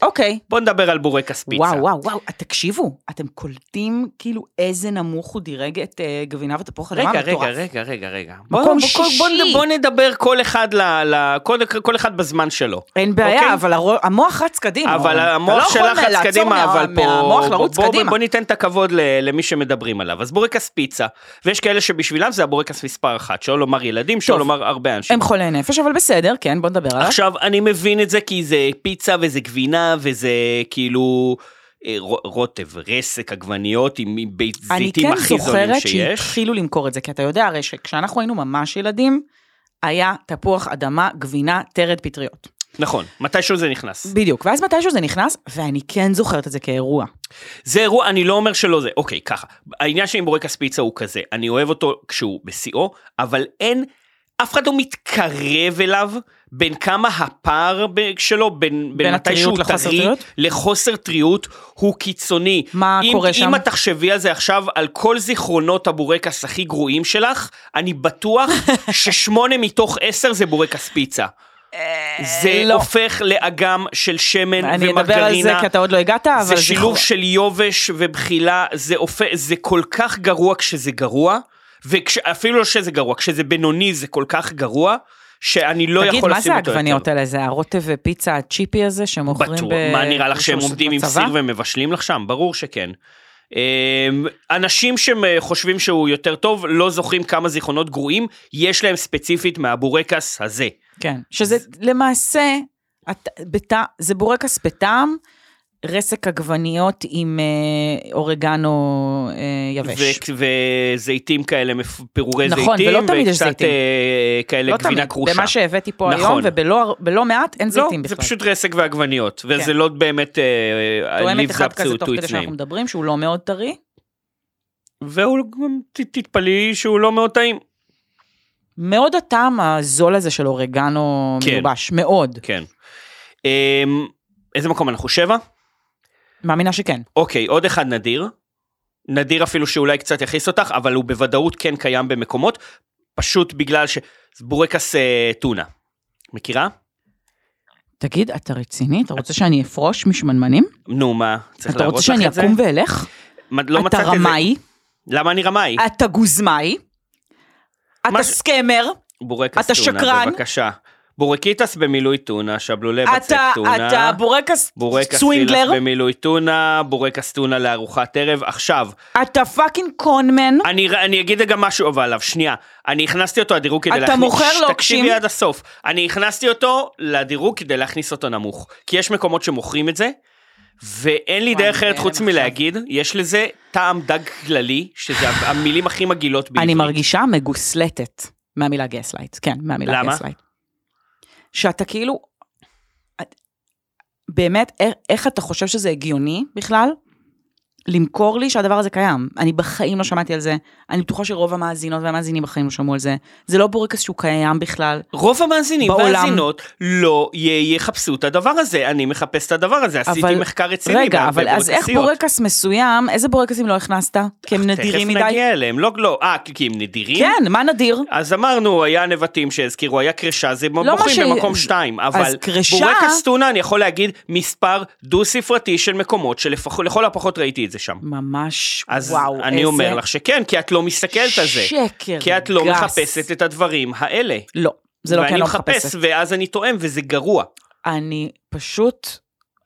אוקיי.
בוא נדבר על בורקס פיצה.
וואו, וואו, וואו, אה, תקשיבו, אתם קולטים כאילו איזה נמוך הוא דירג את אה, גבינה ותפוח אדמה
רגע,
מטורף.
רגע, רגע, רגע, רגע.
מקום
בוא- בוא-
שישי.
בוא נד- בוא נדבר כל אחד ל... ל- כל- כל אחד בזמן שלו.
אין בעיה,
אוקיי?
אבל הרו- המוח רץ קדימה.
אבל
אורן. אתה לא
המוח
יכול
שלך רץ
לעצור
קדימה,
מה-
אבל פה...
מהמוח
בוא-
לרוץ
בוא-
קדימה.
בוא ניתן את הכבוד ל- למי שמדברים עליו. אז בורקס פיצה, ויש כאלה שבשבילם זה הבורקס מספר אחת, שלא לומר ילדים, שלא
טוב.
לומר הרבה אנשים.
הם חולי נפש, אבל בסדר, כן, בוא נדבר עליו.
עכשיו אני מבין את זה כי זה פיצה וזה גבינה וזה כאילו אה, ר- רוטב רסק עגבניות עם עם בית
אני
זיתים
כן
הכי זולים
זוכרת
שיש.
שהתחילו למכור את זה, כי אתה יודע הרי שכשאנחנו היינו ממש ילדים, היה תפוח אדמה, גבינה, טרד, פטריות.
נכון מתישהו זה נכנס
בדיוק, ואז מתישהו זה נכנס, ואני כן זוכרת את זה כאירוע.
זה אירוע אני לא אומר שלא זה אוקיי ככה העניין שלי עם בורקס פיצה הוא כזה אני אוהב אותו כשהוא בשיאו אבל אין אף אחד לא מתקרב אליו בין כמה הפער ב- שלו בין, בין מתי
הטריות
שהוא
לחוסר
טרי
טריות?
לחוסר טריות הוא קיצוני.
מה
אם,
קורה
אם
שם?
אם את תחשבי על זה עכשיו על כל זיכרונות הבורקס הכי גרועים שלך אני בטוח ששמונה מתוך עשר זה בורקס פיצה. זה
לא.
הופך לאגם של שמן
אני
ומרגרינה.
אדבר על זה כי אתה עוד לא הגעת, אבל
כן, זה שילוב
חו-
של יובש ובחילה, זה, אופ... זה כל כך גרוע כשזה גרוע, ואפילו לא שזה גרוע, כשזה בינוני זה כל כך גרוע, שאני לא
תגיד,
יכול
מה
לשים
זה
אותו יותר.
העגבניות האלה? זה הרוטב ופיצה הצ'יפי הזה שמוכרים
בטוח, מה נראה לך שהם
בצבא?
עומדים עם סיר ומבשלים לך שם? ברור שכן. אמ, אנשים שחושבים שהוא יותר טוב, לא זוכרים כמה זיכרונות גרועים, יש להם ספציפית מהבורקס הזה.
כן, שזה למעשה, את, בת, זה בורקס בטעם, רסק עגבניות עם אה, אורגנו אה, יבש.
ו- וזיתים כאלה, מפ- פירורי
נכון,
זיתים,
ולא תמיד יש
וקצת
זיתים.
אה, כאלה
לא
גבינה
תמיד,
קרושה.
במה שהבאתי פה
נכון.
היום, ובלא בלא מעט אין
לא,
זיתים
זה
בכלל.
פשוט רסק ועגבניות, וזה
כן.
לא באמת אה,
תואמת
lives
אחד
up
כזה
to
תוך כדי
its
שאנחנו
name.
מדברים, שהוא לא מאוד טרי.
והוא גם, ת- תתפלאי שהוא לא מאוד טעים.
מאוד הטעם הזול הזה של אורגנו
כן.
מיובש, מאוד.
כן. אמ, איזה מקום אנחנו? שבע?
מאמינה שכן.
אוקיי, עוד אחד נדיר. נדיר אפילו שאולי קצת יכעיס אותך, אבל הוא בוודאות כן קיים במקומות, פשוט בגלל ש... בורקס אה, טונה. מכירה?
תגיד, אתה רציני? אתה רוצה שאני אפרוש משמנמנים?
נו מה, צריך
אתה רוצה
להראות
שאני
לך את זה?
אקום ואלך?
מה, לא
אתה
מצאת את זה?
רמאי,
למה אני רמאי?
אתה גוזמאי, אתה
מה ש-
סקמר,
בורקס
אתה
טונה,
שקרן.
בבקשה. בורקיטס במילוי טונה, שבלולה בצק
אתה
טונה.
אתה בורקס
בורקס סילס
סווינגלר,
במילוי טונה, בורקס טונה לארוחת ערב. עכשיו,
אתה פאקינג קונמן,
אני, אני אגיד גם משהו אבל עליו, שנייה. אני הכנסתי אותו לדירוג כדי
אתה
להכניס...
מוכר
ששש,
לוקשים.
תקשיבי עד הסוף. אני הכנסתי אותו לדירוג כדי להכניס אותו נמוך. כי יש מקומות שמוכרים את זה, ואין לי
וואי,
דרך
אני
אחרת חוץ
בהלם
מלהגיד, יש לזה טעם דג כללי, שזה המילים הכי מגעילות בעברית.
אני מרגישה מגוסלטת מהמילה גסלייט, כן, מהמילה
למה?
גסלייט. שאתה כאילו, את- באמת, איך- איך אתה חושב שזה הגיוני בכלל? למכור לי שהדבר הזה קיים. אני בחיים לא שמעתי על זה, אני בטוחה שרוב המאזינות והמאזינים בחיים לא שמעו על זה. זה לא בורקס שהוא קיים בכלל.
רוב המאזינים
בעולם.
והמאזינות לא י- יחפשו את הדבר הזה, אני מחפש את הדבר הזה, עשיתי מחקר רציני.
רגע,
בהרבה
אבל אז איך
בורקסיות.
בורקס מסוים, איזה בורקסים לא הכנסת? כי הם נדירים
תכף
מדי.
נגיע אליהם, לא, לא, אה, כי הם נדירים?
כן, מה נדיר?
אז אמרנו, היה נבטים שהזכירו, היה קרשה, זה לא
מה
בוחרים
ש-
במקום שתיים, אבל
קרשה-
בורקס טונה, אני יכול להגיד, מספר דו-ספרתי של מקומות, שלכל הפחות ראיתי את זה שם.
ממש,
אז
וואו,
אני
איזה
אומר לך שכן, כי את לא מסתכלת על זה.
שקר
כי את לא
גס.
מחפשת את הדברים האלה.
לא, זה לא כי אני לא
ואני
מחפשת.
מחפש, ואז אני טועם, וזה גרוע.
אני פשוט,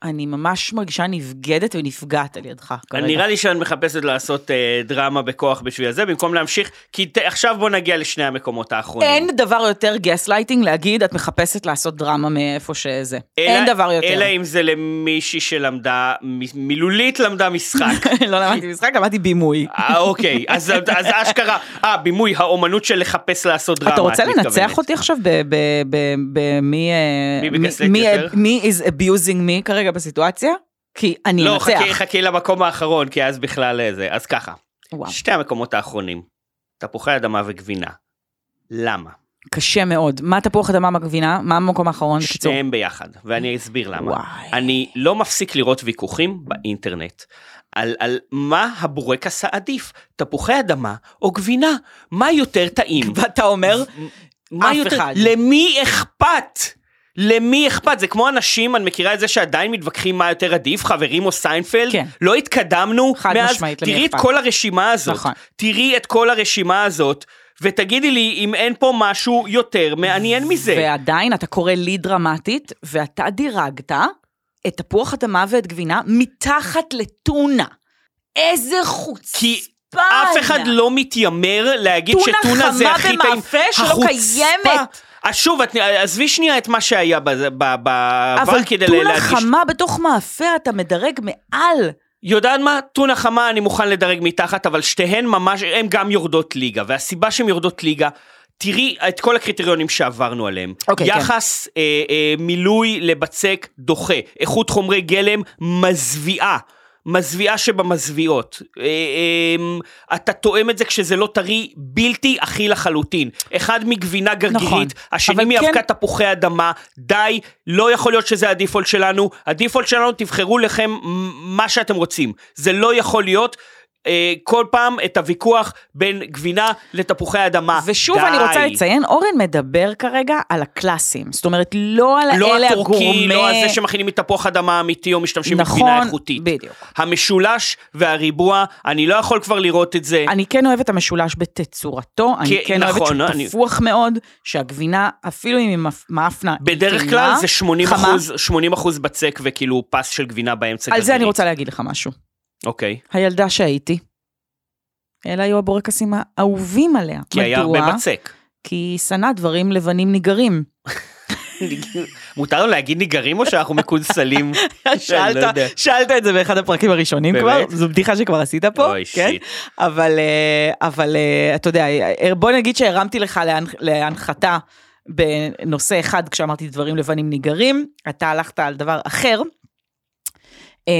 אני ממש מרגישה נבגדת ונפגעת על ידך כרגע.
נראה לי שאת מחפשת לעשות אה, דרמה בכוח בשביל זה, במקום להמשיך, כי ת, עכשיו בוא נגיע לשני המקומות האחרונים.
אין דבר יותר גסלייטינג להגיד, את מחפשת לעשות דרמה מאיפה שזה.
אלא-
אין דבר יותר.
אלא אם זה למישהי שלמדה, מ- מילולית למדה משחק.
לא למדתי משחק, למדתי בימוי.
אה, אוקיי, אז, אז אשכרה, אה, בימוי, האומנות של לחפש לעשות דרמה.
אתה רוצה
את מתכוונת.
לנצח אותי עכשיו במי...
מי בגסלייט יותר?
אה, מי is abusing me כרגע בסיטואציה? כי אני
לא,
אנצח.
חכי, חכי למקום האחרון, כי אז בכלל אה, זה. אז ככה,
וואו.
שתי המקומות האחרונים. תפוחי אדמה וגבינה. למה?
קשה מאוד. מה תפוח אדמה מגבינה? מה המקום האחרון? בקיצור.
שניהם ביחד, ואני אסביר למה.
וואי.
אני לא מפסיק לראות ויכוחים באינטרנט על, על מה הבורקס העדיף, תפוחי אדמה או גבינה, מה יותר טעים.
ואתה אומר,
מה
אף
יותר,
אחד.
למי אכפת? למי אכפת? זה כמו אנשים, אני מכירה את זה שעדיין מתווכחים מה יותר עדיף, חברים או סיינפלד,
כן.
לא התקדמנו
חד
מאז,
משמעית, למי
תראי את
אכפת.
כל הרשימה הזאת,
נכון.
תראי את כל הרשימה הזאת, ותגידי לי אם אין פה משהו יותר מעניין מזה.
ועדיין אתה קורא לי דרמטית, ואתה דירגת את תפוח אדמה ואת גבינה מתחת לטונה. איזה חוצפן.
כי אף אחד לא מתיימר להגיד
טונה
שטונה זה
חמה
הכי טעים.
במאפה שלא
החוצפה-
קיימת.
אז שוב, את- עזבי שנייה את מה שהיה בזה- ב- בעבר
אבל
כדי
טונה
להדגיש.
חמה בתוך מאפה אתה מדרג מעל.
יודעת מה? טונה חמה אני מוכן לדרג מתחת, אבל שתיהן ממש, הן גם יורדות ליגה, והסיבה שהן יורדות ליגה, תראי את כל הקריטריונים שעברנו עליהם.
אוקיי, כן.
יחס אה, אה, מילוי לבצק דוחה, איכות חומרי גלם מזוויעה. מזוויעה שבמזוויעות. אה, אה, אתה תואם את זה כשזה לא טרי, בלתי אכיל לחלוטין. אחד מגבינה גרגירית,
נכון.
השני
אבל
מאבקת
כן-
תפוחי אדמה, די, לא יכול להיות שזה הדיפולט שלנו, הדיפולט שלנו תבחרו לכם מ- מה שאתם רוצים, זה לא יכול להיות. אה, כל פעם את הוויכוח בין גבינה לתפוחי אדמה.
ושוב
אה, די.
אני רוצה לציין, אורן מדבר כרגע על הקלאסים. זאת אומרת, לא על
לא
האלה
הטורקי,
הגורמה.
לא על זה שמכינים מתפוח אדמה אמיתי או משתמשים
נכון,
בגבינה איכותית.
בדיוק.
המשולש והריבוע, אני לא יכול כבר לראות את זה.
אני כן אוהבת המשולש בתצורתו, אני
כן,
כן אוהבת
נכון,
שהוא
אני-
תפוח מאוד, שהגבינה, אפילו אם היא מפ- מאפנה, היא
בדרך
טעימה,
כלל זה 80
לא חמה.
אחוז, 80 אחוז בצק וכאילו פס של גבינה באמצע.
על זה אני
גרגירית.
רוצה להגיד לך משהו.
אוקיי.
הילדה שהייתי, אלה היו הבורקסים האהובים עליה.
כי היה
מדוע?
הרבה בצק.
כי היא שנאה דברים לבנים ניגרים.
מותר לו להגיד ניגרים או שאנחנו מקונסלים? אני לא
שאלת,
יודע.
שאלת את זה באחד הפרקים הראשונים
באמת?
כבר, זו בדיחה שכבר עשית פה,
אוי,
כן?
שיט.
אבל, אה, אבל אה, אתה יודע, אה, בוא נגיד שהרמתי לך להנח- להנחתה בנושא אחד כשאמרתי דברים לבנים ניגרים, אתה הלכת על דבר אחר, אה,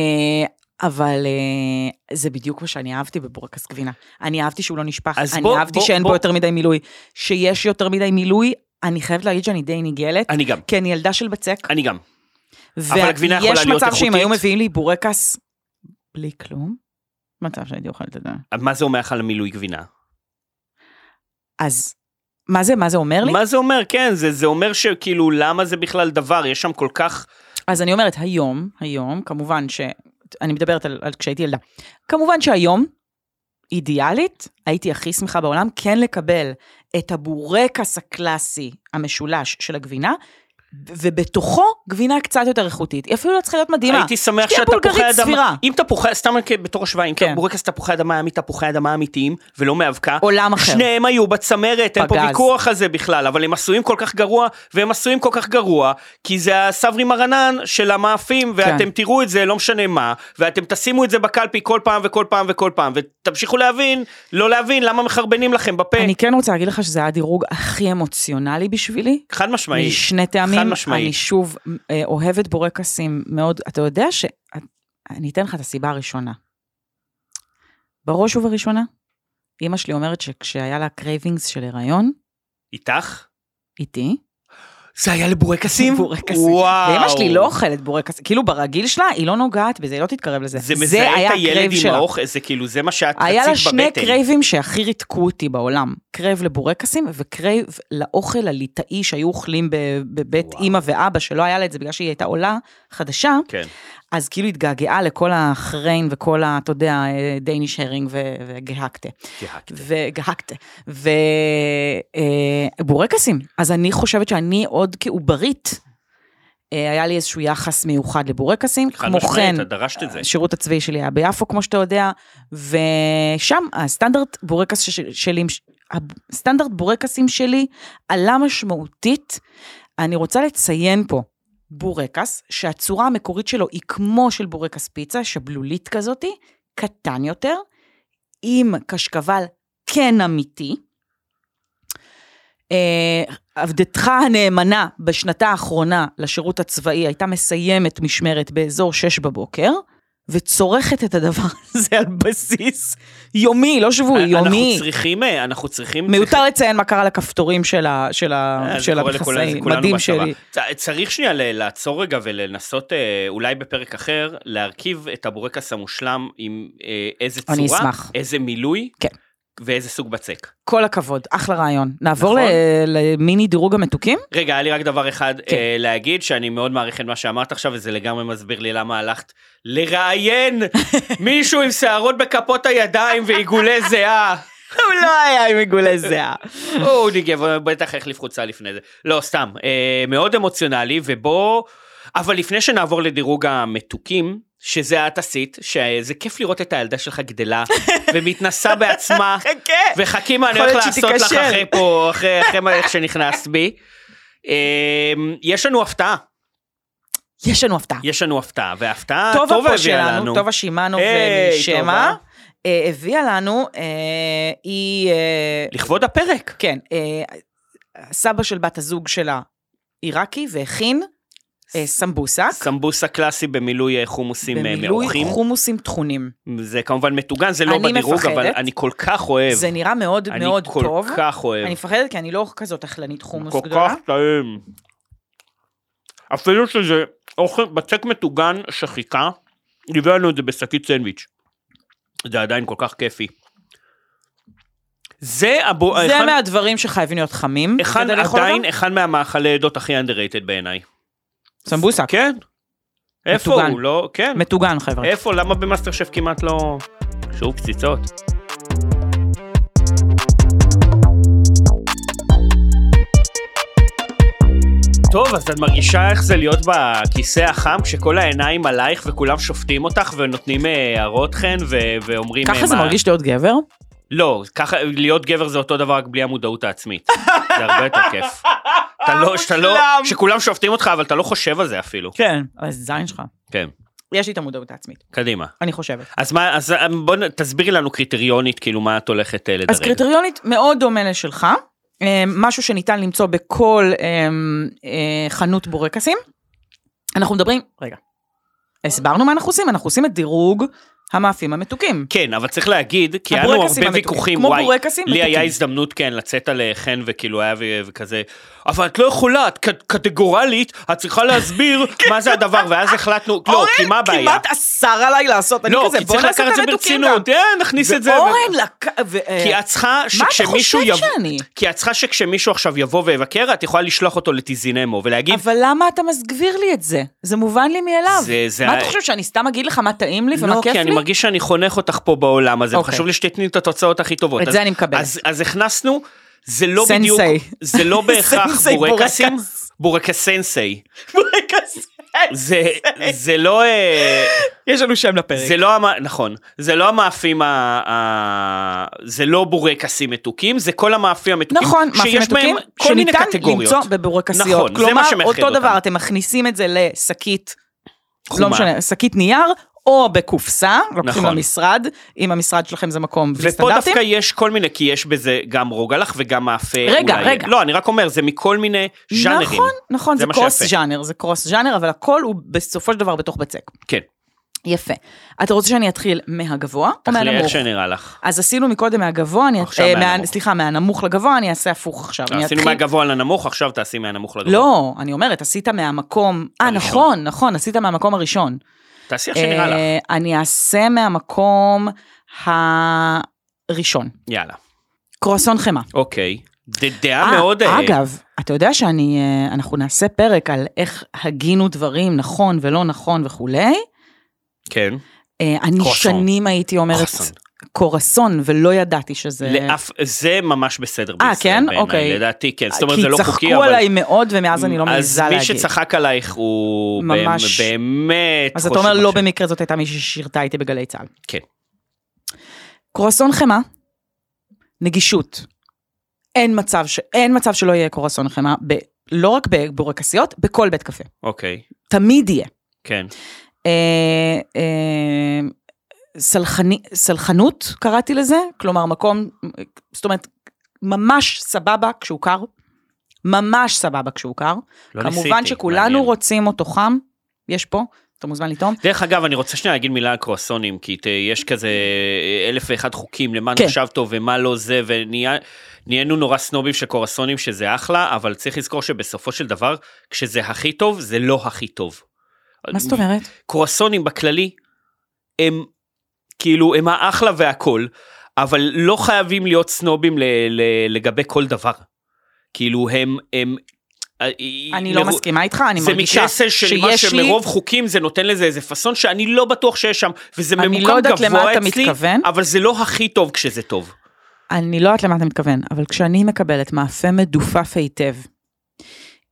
אבל אה, זה בדיוק מה שאני אהבתי בבורקס גבינה. אני אהבתי שהוא לא נשפך,
אז
אני
בוא-
אהבתי
בוא-
שאין
בוא-
בו יותר מדי מילוי, שיש יותר מדי מילוי, אני חייבת להגיד שאני די נגעלת,
אני גם,
כי אני ילדה של בצק.
אני גם. אבל הגבינה יכולה
ויש
להיות
מצב שאם
איכותית.
היו מביאים לי בורקס בלי כלום, מצב שהייתי אוכלת את זה.
מה זה אומר לך על מילוי גבינה?
אז מה זה, מה זה אומר לי?
מה זה אומר? כן, זה, זה אומר שכאילו, למה זה בכלל דבר? יש שם כל כך...
אז אני אומרת, היום, היום, כמובן ש... אני מדברת על, על כשהייתי ילדה. כמובן שהיום, אידיאלית, הייתי הכי שמחה בעולם כן לקבל את הבורקס הקלאסי המשולש של הגבינה, ובתוכו גבינה קצת יותר איכותית. היא אפילו לא צריכה להיות מדהימה.
הייתי שמח
שתהיה
שהתפוחי
בולגרית
אדמה...
סבירה.
אם תפוחי, סתם כ- בתור השוואה, אם
כן.
בורקס תפוחי אדמה היה מתפוחי אדמה אמיתיים, ולא מאבקה,
עולם אחר.
שניהם היו בצמרת, אין פה
פגז.
ויכוח על זה בכלל, אבל הם עשויים כל כך גרוע, והם עשויים כל כך גרוע, כי זה הסברי מרנן של המאפים, ואתם
כן.
תראו את זה, לא משנה מה, ואתם תשימו את זה בקלפי כל פעם וכל פעם וכל פעם, ותמשיכו להבין, לא להבין למה מחרבנים לכם בפה.
אני כן רוצה להגיד לך שזה היה הדירוג הכי אמוציונלי בשבילי,
חד משמעית.
משני טעמים.
חד משמעית.
אני שוב אה, אוהבת בורקסים מאוד. אתה יודע ש... אני אתן לך את הסיבה הראשונה. בראש ובראשונה, אימא שלי אומרת שכשהיה לה קרייבינגס של הריון,
איתך?
איתי,
זה היה לבורקסים?
בורקסים.
וואו.
ואימא שלי לא אוכלת בורקס, כאילו ברגיל שלה, היא לא נוגעת בזה, היא לא תתקרב לזה.
זה מזהה
היה
את הילד
הקרייב
עם
שלה.
האוכל, זה כאילו, זה מה שאת רצית בבטן.
היה לה שני קרייבים שהכי ריתקו אותי בעולם. קרייב לבורקסים וקרייב לאוכל הליטאי שהיו אוכלים ב- בבית
וואו.
אימא ואבא, שלא היה לה את זה בגלל שהיא הייתה עולה חדשה.
כן.
אז כאילו התגעגעה לכל החריין וכל ה... אתה יודע, אה, דייניש הרינג ו- וגהקטה.
גהקטה.
וגהקטה. ובורקסים. אה, אז אני חושבת שאני עוד כעוברית, אה, היה לי איזשהו יחס מיוחד לבורקסים.
חד
כמו
משמעית,
כן,
את דרשת את זה.
השירות הצבאי שלי היה ביפו, כמו שאתה יודע, ושם הסטנדרט בורקס ש- שלי, הסטנדרט בורקסים שלי עלה משמעותית. אני רוצה לציין פה בורקס, שהצורה המקורית שלו היא כמו של בורקס פיצה, שבלולית כזאתי, קטן יותר, עם קשקבל כן אמיתי. אה, עבדתך הנאמנה בשנתה האחרונה לשירות הצבאי הייתה מסיימת משמרת באזור שש בבוקר, וצורכת את הדבר הזה על בסיס יומי, לא שבועי,
אה, אנחנו
יומי.
צריכים, אה, אנחנו צריכים...
מיותר לציין מה קרה לכפתורים של ה- של ה-
אה, זה
של
קורה לכולם,
המכסאים,
זה כולנו
מדהים
בצבא.
שלי.
צ- צריך שנייה ל- לעצור רגע ולנסות, אה, אולי בפרק אחר, להרכיב את הבורקס המושלם עם אה, איזה צורה,
אני אשמח.
איזה מילוי,
כן.
ואיזה סוג בצק.
כל הכבוד, אחלה רעיון. נעבור
נכון.
ל- למיני דירוג המתוקים?
רגע, היה לי רק דבר אחד
כן.
אה, להגיד, שאני מאוד מעריך את מה שאמרת עכשיו, וזה לגמרי מסביר לי למה הלכת לראיין מישהו עם שערות בכפות הידיים ועיגולי זיעה.
הוא לא היה עם עיגולי זיעה.
הוא ניגב, בטח החליף חולצה לפני זה. לא, סתם, אה, מאוד אמוציונלי, ובוא... אבל לפני שנעבור לדירוג המתוקים, שזה את עשית, שזה כיף לראות את הילדה שלך גדלה ומתנסה בעצמה,
חכה.
וחכי מה אני
יכול
הולך
להיות שהיא
לעשות לך
תיכשל.
אחרי פה, אחרי אחרי מה- איך שנכנסת בי. אה, יש לנו הפתעה,
יש לנו הפתעה.
יש לנו הפתעה, וההפתעה
טובה
טובה
פה
הביאה
שלנו,
לנו.
טובה שימנו
היי, טובה.
ומשמע, אה, הביאה לנו, אה, היא, אה,
לכבוד הפרק.
כן, אה, הסבא של בת הזוג שלה עיראקי והכין אה, סמבוסק.
סמבוסה קלאסי במילוי אה, חומוסים אה,
במילוי
מעורכים.
חומוסים טחונים.
זה כמובן מטוגן, זה לא
אני
בדירוג,
מפחדת.
אבל אני כל כך אוהב.
זה נראה מאוד
אני
מאוד
כל
טוב.
כך אוהב.
אני מפחדת כי אני לא כזאת אכלנית חומוס
כל
גדולה.
כך טעים. אפילו שזה אוכל, בצק מטוגן שחיכה, הביאו לנו את זה בשקית סנדוויץ'. זה עדיין כל כך כיפי. זה הבו...
זה
אה, אחד-
מהדברים שחייבים להיות חמים.
אחד
כדי לאכול
עדיין
אותם.
אחד מהמאכלי עדות הכי underrated בעיניי.
סמבוסק.
כן. איפה
מטוגן.
הוא? לא, כן.
מטוגן חבר'ה.
איפה? למה במאסטר שף כמעט לא... שוב קציצות. טוב, אז את מרגישה איך זה להיות בכיסא החם כשכל העיניים עלייך וכולם שופטים אותך ונותנים אה, הערות חן ו- ואומרים... אה,
ככה זה
מה-
מרגיש להיות גבר?
לא, ככה, להיות גבר זה אותו דבר רק בלי המודעות העצמית. זה הרבה יותר כיף. אתה לא, שאתה לא,
מושלם.
שכולם שופטים אותך אבל אתה לא חושב על זה אפילו.
כן. אבל זה זין שלך.
כן,
יש לי את המודעות העצמית,
קדימה.
אני חושבת.
אז מה, אז בואי תסבירי לנו קריטריונית, כאילו מה את הולכת אה, לדרג.
אז קריטריונית מאוד דומה לשלך, אה, משהו שניתן למצוא בכל אה, אה, חנות בורקסים. אנחנו מדברים, רגע, הסברנו מה אנחנו עושים, אנחנו עושים את דירוג המאפים המתוקים.
כן, אבל צריך להגיד, כי היה לנו הרבה
הבורקסים המתוקים,
ויכוחים,
כמו
וואי,
בורקסים
לי היה
מתוקים.
הזדמנות כן לצאת על אה, חן וכאילו היה ו- וכזה, אבל את לא יכולה, את ק- קטגורלית, את צריכה להסביר מה זה הדבר, ואז החלטנו, לא, כי מה הבעיה?
כן. כמעט אסר עליי לעשות, אני
לא,
כזה,
כי
בוא
צריך
נעשה
לקחת
את
את זה
המתוקים גם.
ברצינות, אה, נכניס את זה. ו-
ואורן לקח... ו- אה,
כי את צריכה
מה אתה
שכשמישהו
חושב
יבוא,
שאני?
כי את צריכה שכשמישהו עכשיו יבוא ויבקר, את יכולה לשלוח אותו לטיזינמו ולהגיד,
אבל למה אתה מסגביר לי את זה? זה מובן לי מאליו.
זה- זה
מה
ה-
אתה חושב, שאני סתם אגיד לך מה טעים לי ומה
לא,
כיף
כי אני
לי?
מרגיש שאני חונך אותך פה בעולם הזה,
אוקיי.
וחשוב לי שתתני את התוצאות הכי טובות.
את
אז-
זה אני מקבלת.
אז- אז הכנסנו, זה לא
סנסי.
בדיוק, זה לא בהכרח
סנסי
בורקסים,
בורקס.
בורקסנסי.
בורקס.
זה- זה לא, אה,
יש לנו שם לפרק.
זה לא, המ- נכון, זה לא המאפים, ה- ה- זה לא בורקסים מתוקים, זה כל המאפים המתוקים,
נכון, מאפים
שיש בהם
מתוקים,
כל מיני
שניתן
קטגוריות.
למצוא בבורקסיות.
נכון, זה מה שמאחד
כלומר,
אותם.
אותו דבר, אתם מכניסים את זה לשקית,
חומה.
לא משנה, שקית נייר, או בקופסה, לוקחים
נכון.
למשרד, אם המשרד שלכם זה מקום
ופה
וסטנדרטים.
דווקא יש כל מיני, כי יש בזה גם רוגלח וגם מאפה.
רגע,
אולי-
רגע.
לא, אני רק אומר, זה מכל מיני ז'אנרים.
נכון, נכון,
זה
זה
מה
קרוס
שיפה.
ז'אנר, זה קרוס ז'אנר, אבל הכל הוא בסופו של דבר בתוך בצק.
כן,
יפה. אתה רוצה שאני אתחיל מהגבוה או
תחליט איך
מהנמוך?
שנראה לך.
אז עשינו מקודם מהגבוה, אני...
עכשיו
אה, מה-
מהנמוך. אה,
סליחה, מהנמוך לגבוה, אני אעשה הפוך עכשיו. אני
עשינו
אתחיל-
מהגבוה לנמוך, עכשיו תעשי מהנמוך לגבוה.
לא, אני אומרת, עשית מהמקום... אה,
הראשון.
נכון, נכון, עשית מהמקום הראשון.
תעשי איך שנראה לך.
אה, אני אעשה מהמקום הראשון.
יאללה.
קרואסון חמאה.
אוקיי. זה דעה
אה,
מאוד... אה,
אגב, אתה יודע שאני, אה, אנחנו נעשה פרק על איך הגינו דברים נכון ולא נכון וכולי.
כן.
אה, אני
קרואסון.
שנים הייתי אומרת
קרואסון.
קורסון, ולא ידעתי שזה...
לאף... זה ממש בסדר
אה,
בישראל
כן?
בעיניי,
אוקיי.
לדעתי, כן. זאת אומרת, זה לא
כי
חוקי,
צחקו
אבל...
עליי מאוד, ומאז אני לא מעיזה להגיד.
אז מי שצחק עלייך הוא
ממש.
ממש... באמת...
אז אתה
חושב
אומר, לא
עכשיו.
במקרה זאת הייתה מישהי ששירתה איתי בגלי צה"ל.
כן.
קרואסון חמאה, נגישות. אין מצב, ש... אין מצב שלא יהיה קרואסון חמאה, ב... לא רק בבורקסיות, בכל בית קפה.
אוקיי.
תמיד יהיה.
כן.
אה, אה, סלחני, סלחנות קראתי לזה, כלומר מקום, זאת אומרת, ממש סבבה כשהוא קר, ממש סבבה כשהוא קר.
לא
כמובן
ניסיתי,
שכולנו
מעניין.
רוצים אותו חם, יש פה, אתה מוזמן לטעום.
דרך אגב, אני רוצה שנייה להגיד מילה על קרואסונים, כי ת, יש כזה אה, אלף ואחד חוקים למה
כן.
נחשב טוב ומה לא זה, ונהיינו נורא סנובים של קרואסונים שזה אחלה, אבל צריך לזכור שבסופו של דבר, כשזה הכי טוב, זה לא הכי טוב.
מה זאת אומרת?
קרואסונים בכללי, הם כאילו, הם האחלה והכל, אבל לא חייבים להיות סנובים ל, ל, לגבי כל דבר. כאילו, הם... הם אה,
אני לא
לרוב-
מסכימה איתך, אני
זה
מרגישה
מקסל של מה
שיש לי...
שמרוב חוקים זה נותן לזה איזה פאסון שאני לא בטוח שיש שם, וזה
אני
ממוקם
לא יודעת
גבוה
למה אתה
אצלי,
מתכוון.
אבל זה לא הכי טוב כשזה טוב.
אני לא יודעת למה אתה מתכוון, אבל כשאני מקבלת מאפה מדופף היטב,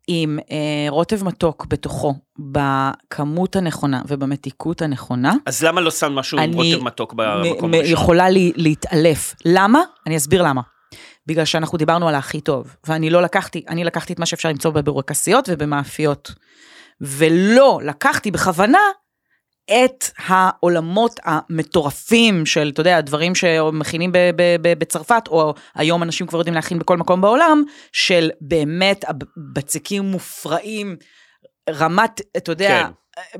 עם אה, רוטב מתוק בתוכו, בכמות הנכונה ובמתיקות הנכונה,
אז למה לא שם משהו עם
אני
רוטב מתוק
מ-
במקום
מ-
הראשון?
יכולה לי, להתעלף. למה? אני אסביר למה. בגלל שאנחנו דיברנו על הכי טוב, ואני לא לקחתי, אני לקחתי את מה שאפשר למצוא בבורקסיות ובמאפיות, ולא לקחתי בכוונה את העולמות המטורפים של, אתה יודע, הדברים שמכינים ב- ב- ב- בצרפת, או היום אנשים כבר יודעים להכין בכל מקום בעולם, של באמת הבצקים מופרעים, רמת, אתה יודע,
כן. אז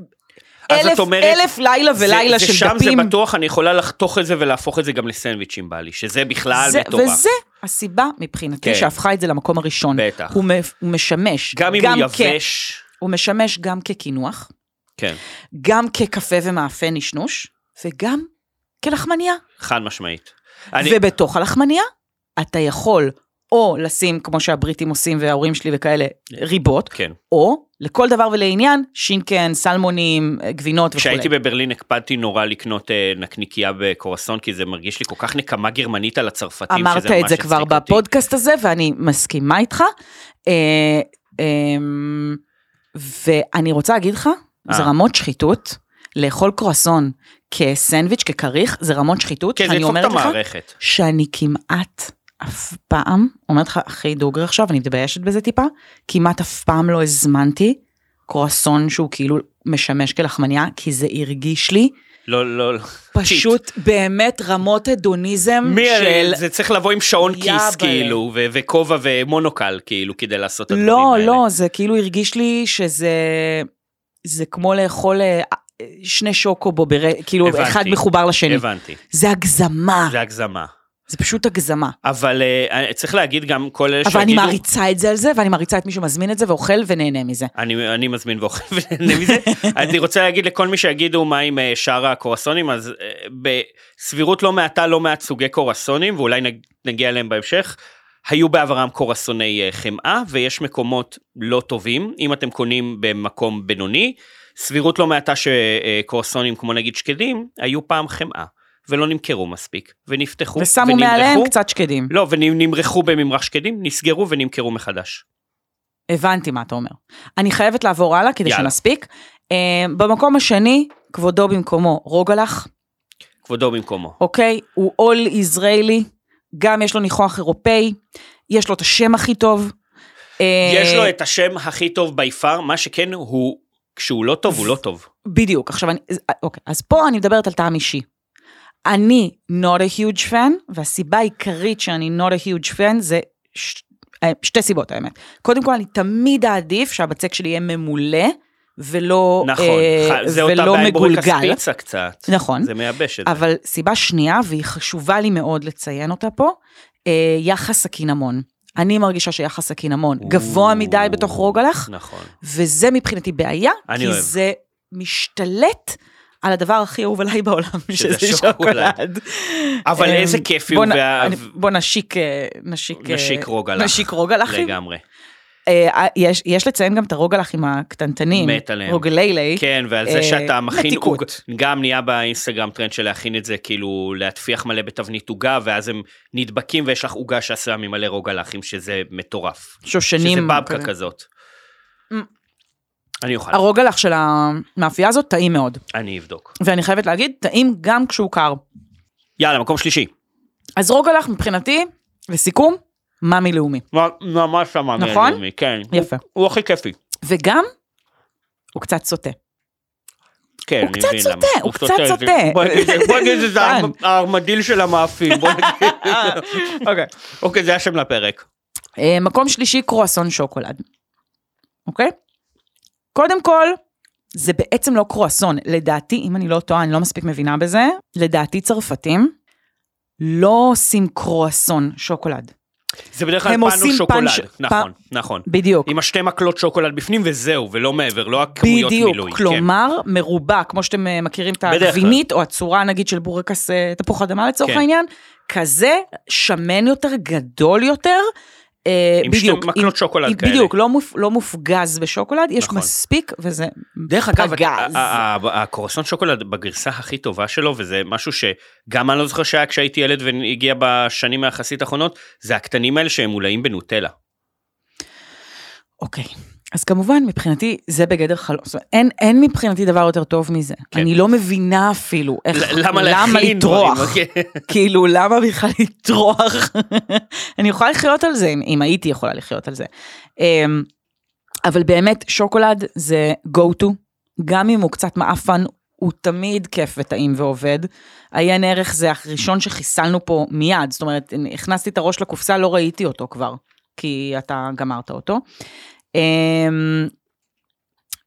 את
אה, אלף,
אומרת,
אלף לילה ולילה
זה,
של
זה
דפים.
שם זה בטוח, אני יכולה לחתוך את זה ולהפוך את זה גם לסנדוויצ'ים בא לי, שזה בכלל
זה,
מטורף.
וזה הסיבה מבחינתי
כן.
כן. שהפכה את זה למקום הראשון.
בטח.
הוא, מ- הוא משמש.
גם אם הוא
כ-
יבש,
הוא משמש גם כקינוח,
כן,
גם כקפה ומאפה נשנוש, וגם כלחמניה.
חד משמעית.
אני...
אני,
ובתוך הלחמניה אתה יכול או לשים, כמו שהבריטים עושים וההורים שלי וכאלה, ריבות,
כן.
או לכל דבר ולעניין, שינקן, סלמונים, גבינות וכולי.
כשהייתי בברלין הקפדתי נורא לקנות אה, נקניקייה בקורסון, כי זה מרגיש לי כל כך נקמה גרמנית על הצרפתים, שזה ממש
אמרת את זה כבר
הצחיק אותי.
בפודקאסט הזה, ואני מסכימה איתך. אה, אמ, ואני רוצה להגיד לך,
אה.
זה רמות שחיתות, לאכול קרואסון כסנדוויץ', ככריך, זה רמות שחיתות,
כן, זה
שאני
ידפוק את
אומרת לך,
המערכת.
שאני כמעט אף פעם, אומרת לך, אחי דוגרי עכשיו, אני מתביישת בזה טיפה, כמעט אף פעם לא הזמנתי קרואסון שהוא כאילו משמש כלחמניה, כי זה הרגיש לי
לא, לא, לא.
פשוט באמת רמות הדוניזם
מי
של...
של... זה צריך לבוא עם שעון
יאבלה.
כיס כאילו, ו- וכובע ומונוקל כאילו, כדי לעשות את הדברים
לא,
האלה.
לא, זה כאילו הרגיש לי שזה זה כמו לאכול אה, אה, שני שוקובו, בר... כאילו
הבנתי.
אחד מחובר לשני.
הבנתי,
זה הגזמה, זה...
זה הגזמה.
זה פשוט הגזמה.
אבל uh, צריך להגיד גם כל אלה
אבל אני
שיגידו,
מעריצה את זה על זה, ואני מעריצה את מי שמזמין את זה ואוכל ונהנה מזה.
אני, אני מזמין ואוכל ונהנה מזה. אני רוצה להגיד לכל מי שיגידו מה עם אה, שאר הקורסונים, אז אה, בסבירות לא מעטה לא מעט סוגי קורסונים, ואולי נג, נגיע אליהם בהמשך. היו בעברם קורסוני אה, חמאה, ויש מקומות לא טובים, אם אתם קונים במקום בינוני. סבירות לא מעטה שקורסונים כמו נגיד שקדים, היו פעם חמאה, ולא נמכרו מספיק, ונפתחו,
ושמו מעליהם קצת שקדים.
לא, ונמרחו בממרח שקדים, נסגרו ונמכרו מחדש.
הבנתי מה אתה אומר. אני חייבת לעבור הלאה כדי
יאללה.
שנספיק. אה, במקום השני, כבודו במקומו, רוגלח.
כבודו במקומו.
אוקיי? הוא עול ישראלי, גם יש לו ניחוח אירופאי, יש לו את השם הכי טוב.
יש
אה,
לו את השם הכי טוב בי פאר, מה שכן הוא, כשהוא לא טוב, הוא לא טוב.
בדיוק, עכשיו אני, אז- אוקיי, אז פה אני מדברת על טעם אישי. אני not a huge fan, והסיבה העיקרית שאני not a huge fan זה ש... אה, שתי סיבות האמת. קודם כל, אני תמיד אעדיף שהבצק שלי יהיה ממולא, ולא,
נכון,
אה,
ח- זה אותה
ולא
בעיה עם בורקס
מגולגל.
פיצה קצת.
נכון.
זה מייבש את זה.
אבל סיבה שנייה, והיא חשובה לי מאוד לציין אותה פה, אה, יחס הקינמון. אני מרגישה שיחס הקינמון גבוה מדי בתוך רוגלח,
נכון.
וזה מבחינתי בעיה,
אני
כי
אוהב.
זה משתלט על הדבר הכי אהוב עליי בעולם,
שזה
שזה
שוקולד.
שוקולד.
אבל
אה,
איזה כיפי
בוא
הוא
נ-
וה-
אני- בוא נשיק, אה, נשיק, אה,
נשיק רוגלח.
נשיק רוגלחים.
לגמרי.
אה, יש, יש לציין גם את הרוגלחים הקטנטנים.
מת עליהם.
רוגליילי.
כן, ועל זה
אה,
שאתה מכין
מתיקות.
עוג, גם נהיה באינסטגרם טרנד של להכין את זה, כאילו להטפיח מלא בתבנית עוגה, ואז הם נדבקים ויש לך עוגה שעשה ממלא רוגלחים, שזה מטורף. שזה
שושנים.
בבקה
כזה.
כזאת.
Mm.
אני אוכל,
הרוגלח של המאפייה הזאת טעים מאוד.
אני אבדוק.
ואני חייבת להגיד, טעים גם כשהוא קר.
יאללה, מקום שלישי.
אז רוגלח מבחינתי, לסיכום, מאמי לאומי.
ממש אמרנו,
נכון?
כן.
יפה.
הוא הכי כיפי.
וגם, הוא קצת סוטה.
כן,
הוא
אני
קצת
מבין
סוטה,
למה.
הוא קצת סוטה.
בוא נגיד- בוא נגיד שזה
כן.
הארמדיל של המאפים. בוא נגיד.
אוקיי.
אוקיי, זה השם לפרק.
אה, מקום שלישי, קרואסון שוקולד. אוקיי? קודם כל, זה בעצם לא קרואסון. לדעתי, אם אני לא טועה, אני לא מספיק מבינה בזה, לדעתי צרפתים לא עושים קרואסון שוקולד.
זה בדרך כלל
הם
פן
עושים
הוא שוקולד,
פן ש-
נכון,
פ-
נכון.
בדיוק.
עם השתי מקלות שוקולד בפנים וזהו, ולא מעבר, לא הכמויות מילוי.
בדיוק,
כן.
כלומר מרובע, כמו שאתם אה, מכירים את
בדרך
הגבינית, או הצורה נגיד של בורקס אה, תפוח אדמה לצורך
כן.
העניין, כזה שמן יותר, גדול יותר, אה,
עם שתי
בדיוק.
מקלות שוקולד
עם-
כאלה.
בדיוק, לא מופ- לא מופגז בשוקולד, יש
נכון.
מספיק וזה
דרך אגב,
פגז.
ה- ה- ה- הקורסון שוקולד בגרסה הכי טובה שלו, וזה משהו שגם אני לא זוכר שהיה כשהייתי ילד והגיע בשנים היחסית האחרונות, זה הקטנים האלה שהם מולאים בנוטלה.
אוקיי. אז כמובן, מבחינתי, זה בגדר חלום. זאת אומרת, אין, אין מבחינתי דבר יותר טוב מזה.
כן.
כן. אני לא מבינה אפילו איך,
ל- למה להכין
נכון. לטרוח.
דברים, אוקיי.
כאילו, למה בכלל לטרוח? אני יכולה לחיות על זה, אם, אם הייתי יכולה לחיות על זה. אמ, אבל באמת, שוקולד זה go to, גם אם הוא קצת מעפן, הוא תמיד כיף וטעים ועובד. עיין ערך זה הראשון שחיסלנו פה מיד, זאת אומרת, הכנסתי את הראש לקופסה, לא ראיתי אותו כבר, כי אתה גמרת אותו. אמ,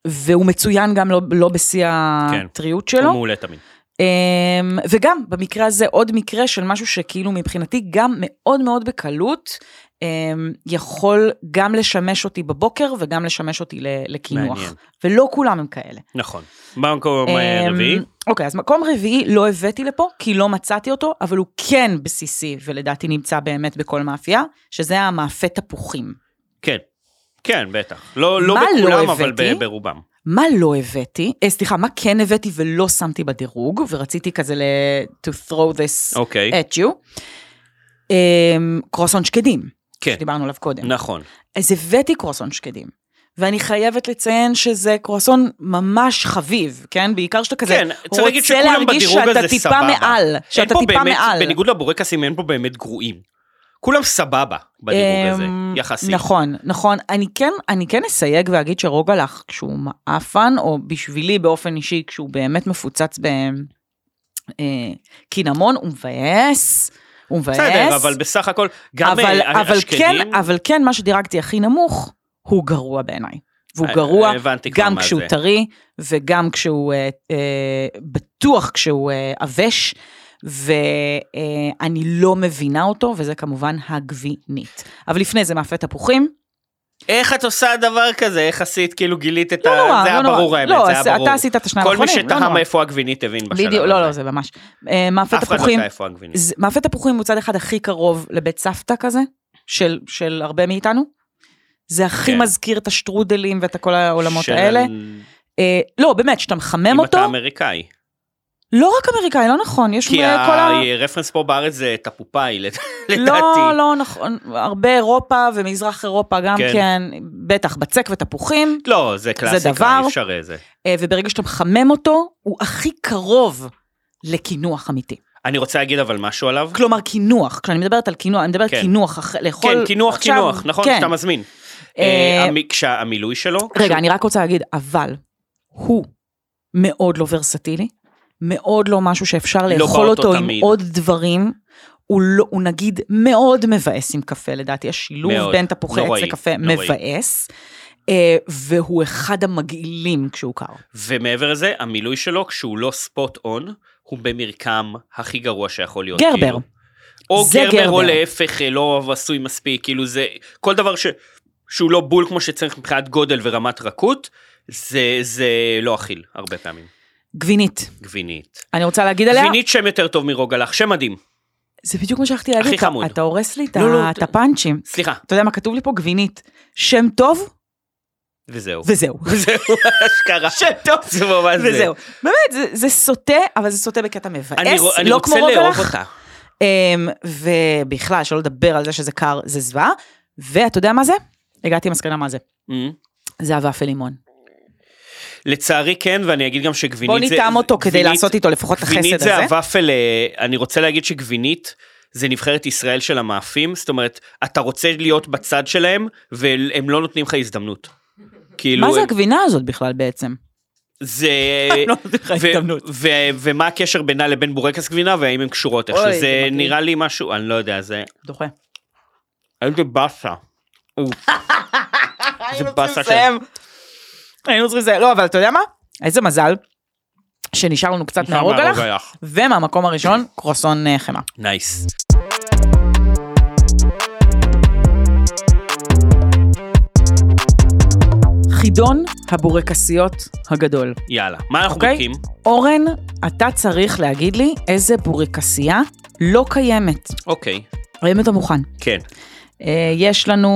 והוא מצוין גם לא, לא בשיא
כן.
הטריות
הוא
שלו.
מעולה תמיד.
אמ, וגם במקרה הזה עוד מקרה של משהו שכאילו מבחינתי גם מאוד מאוד בקלות אמ, יכול גם לשמש אותי בבוקר וגם לשמש אותי ל- לקינוח.
מעניין.
ולא כולם הם כאלה.
נכון. במקום אה,
אמ,
רביעי,
אוקיי, אז מקום רביעי לא הבאתי לפה, כי לא מצאתי אותו, אבל הוא כן בסיסי, ולדעתי נמצא באמת בכל מאפייה, שזה המאפה תפוחים.
כן. כן, בטח. לא לא
מה לא
בכולם, אבל
הבאתי?
ב- ברובם.
מה לא הבאתי, אה, סליחה, מה כן הבאתי ולא שמתי בדירוג, ורציתי כזה ל... to throw this
אוקיי.
at you. אמ, קרואסון שקדים,
כן.
שדיברנו עליו קודם.
נכון.
אז הבאתי קרואסון שקדים, ואני חייבת לציין שזה קרואסון ממש חביב, כן? בעיקר שאתה כזה
כן, צריך להגיד
רוצה
שכולם
להרגיש
בדירוג
שאתה
הזה
טיפה
סבבה.
מעל,
אין
שאתה
פה
טיפה
באמת,
מעל.
בניגוד לבורקסים, אין פה באמת גרועים. כולם סבבה בדירוג הזה,
אמ,
יחסית.
נכון, נכון. אני כן, אני כן אסייג ואגיד שרוגלח, כשהוא מעפן, או בשבילי באופן אישי, כשהוא באמת מפוצץ בקינמון, הוא מבאס. הוא מבאס.
בסדר, אבל בסך הכל, גם
אבל,
אה,
אבל, כן,
השקדים,
אבל כן, מה שדירגתי הכי נמוך, הוא גרוע בעיניי. והוא
אה,
גרוע
הבנתי כבר
גם
מה
כשהוא
זה.
טרי, וגם כשהוא, אה, אה, בטוח כשהוא אה, עבש, ואני לא מבינה אותו, וזה כמובן הגבינית. אבל לפני זה מאפה תפוחים.
איך את עושה דבר כזה? איך עשית? כאילו גילית את
לא
ה...
נורא,
זה היה
לא נורא.
ברור האמת,
לא,
זה היה
אז אתה
ברור.
עשית את השניים
כל מי
האחרונים, לא
שתהה
נורא.
מאיפה הגבינית הבין בשלב
בדיוק,
הזה.
לא, לא, זה ממש. אה, מאפה
אף אחד לא
תפוחים,
יודע איפה הגבינית.
זה- מאפה תפוחים הוא צד אחד הכי קרוב לבית סבתא כזה, של, של הרבה מאיתנו. זה הכי
כן.
מזכיר את השטרודלים ואת כל העולמות
של-
האלה. אה, לא, באמת, שאתה מחמם
אם
אותו,
אתה אמריקאי.
לא רק אמריקאי, לא נכון, יש
כי
אה, כל ה...
הרפרנס פה בארץ זה תפופאי, לד- לדעתי.
לא, לא נכון, הרבה אירופה ומזרח אירופה גם
כן.
כן, בטח בצק ותפוחים,
לא, זה קלאסיקה,
דבר.
אי אפשר איזה.
אה, וברגע שאתה מחמם אותו, הוא הכי קרוב לקינוח אמיתי.
אני רוצה להגיד אבל משהו עליו.
כלומר קינוח, כשאני מדברת על קינוח, אני מדברת
כן.
קינוח, אח- לאכול...
כן, קינוח,
עכשיו-
קינוח, נכון?
כן.
שאתה מזמין.
אה,
אה, המי- כשהמילוי שלו...
רגע, אני רק רוצה להגיד, אבל הוא מאוד לא ורסטילי, מאוד לא משהו שאפשר
לא
לאכול
בא אותו
אותו עם
תמיד.
עוד דברים. הוא, לא, הוא נגיד מאוד מבאס עם קפה, לדעתי השילוב
מאוד. לא
בין תפוחי עץ
נוראי,
לקפה
נוראי.
מבאס, אה, והוא אחד המגעילים כשהוא קר.
ומעבר לזה, המילוי שלו, כשהוא לא ספוט און, הוא במרקם הכי גרוע שיכול להיות.
גרבר.
כאילו. או
זה
גרבר, או
גרבר.
להפך, אה, לא עשוי מספיק, כאילו זה, כל דבר ש... שהוא לא בול כמו שצריך מבחינת גודל ורמת רכות, זה, זה לא אכיל הרבה פעמים.
גבינית,
גבינית.
אני רוצה להגיד עליה,
גבינית שם יותר טוב מרוגלח, שם מדהים.
זה בדיוק מה שהלכתי להגיד,
הכי
אתה-
חמוד.
אתה הורס לי את
לא, לא,
ה-
ת-
את הפאנצ'ים.
סליחה,
אתה יודע מה כתוב לי פה? גבינית. שם טוב,
וזהו.
וזהו.
זהו, אשכרה.
שטוב.
זה ממש זה.
וזהו. באמת, זה, זה סוטה, אבל זה סוטה בקטע מבאס,
אני, רוא- אני
לא
רוצה
כמו
לאהוב
רוגלח.
אותה.
אמ, ובכלל, שלא לדבר על זה שזה קר, זה זוועה. ואתה יודע מה זה? הגעתי למסקנה מה זה.
אמ.
זה אבף ולימון.
לצערי כן, ואני אגיד גם שגבינית
בוא
זה...
נטעם אותו כדי
גבינית-
לעשות איתו לפחות את החסד
גבינית
הזה.
זה הוואפל, אה, אני רוצה להגיד שגבינית זה נבחרת ישראל של המאפים, זאת אומרת, אתה רוצה להיות בצד שלהם, והם לא נותנים לך הזדמנות. כאילו,
מה זה
הם-
הגבינה הזאת בכלל בעצם?
זה...
הם לא נותנים לך
ו-
הזדמנות.
ו- ו- ומה הקשר בינה לבין בורקס גבינה, והאם הן קשורות איכשהו.
אוי, זה
זה
מגעיל.
נראה לי משהו, אני לא יודע, זה...
דוחה.
איזה באסה. אוף. זה באסה של...
היינו צריכים לסיים. לא, אבל אתה יודע מה? איזה מזל שנשאר לנו קצת
נשאר
מהרוג
מהרוג
הלך,
הלך.
ומהמקום הראשון, קרואסון אה, חמאה.
נייס.
חידון הבורקסיות הגדול.
יאללה. מה אנחנו
אוקיי.
בודקים?
אורן, אתה צריך להגיד לי איזה בורקסייה לא קיימת.
אוקיי.
האם אתה מוכן?
כן.
אה, יש לנו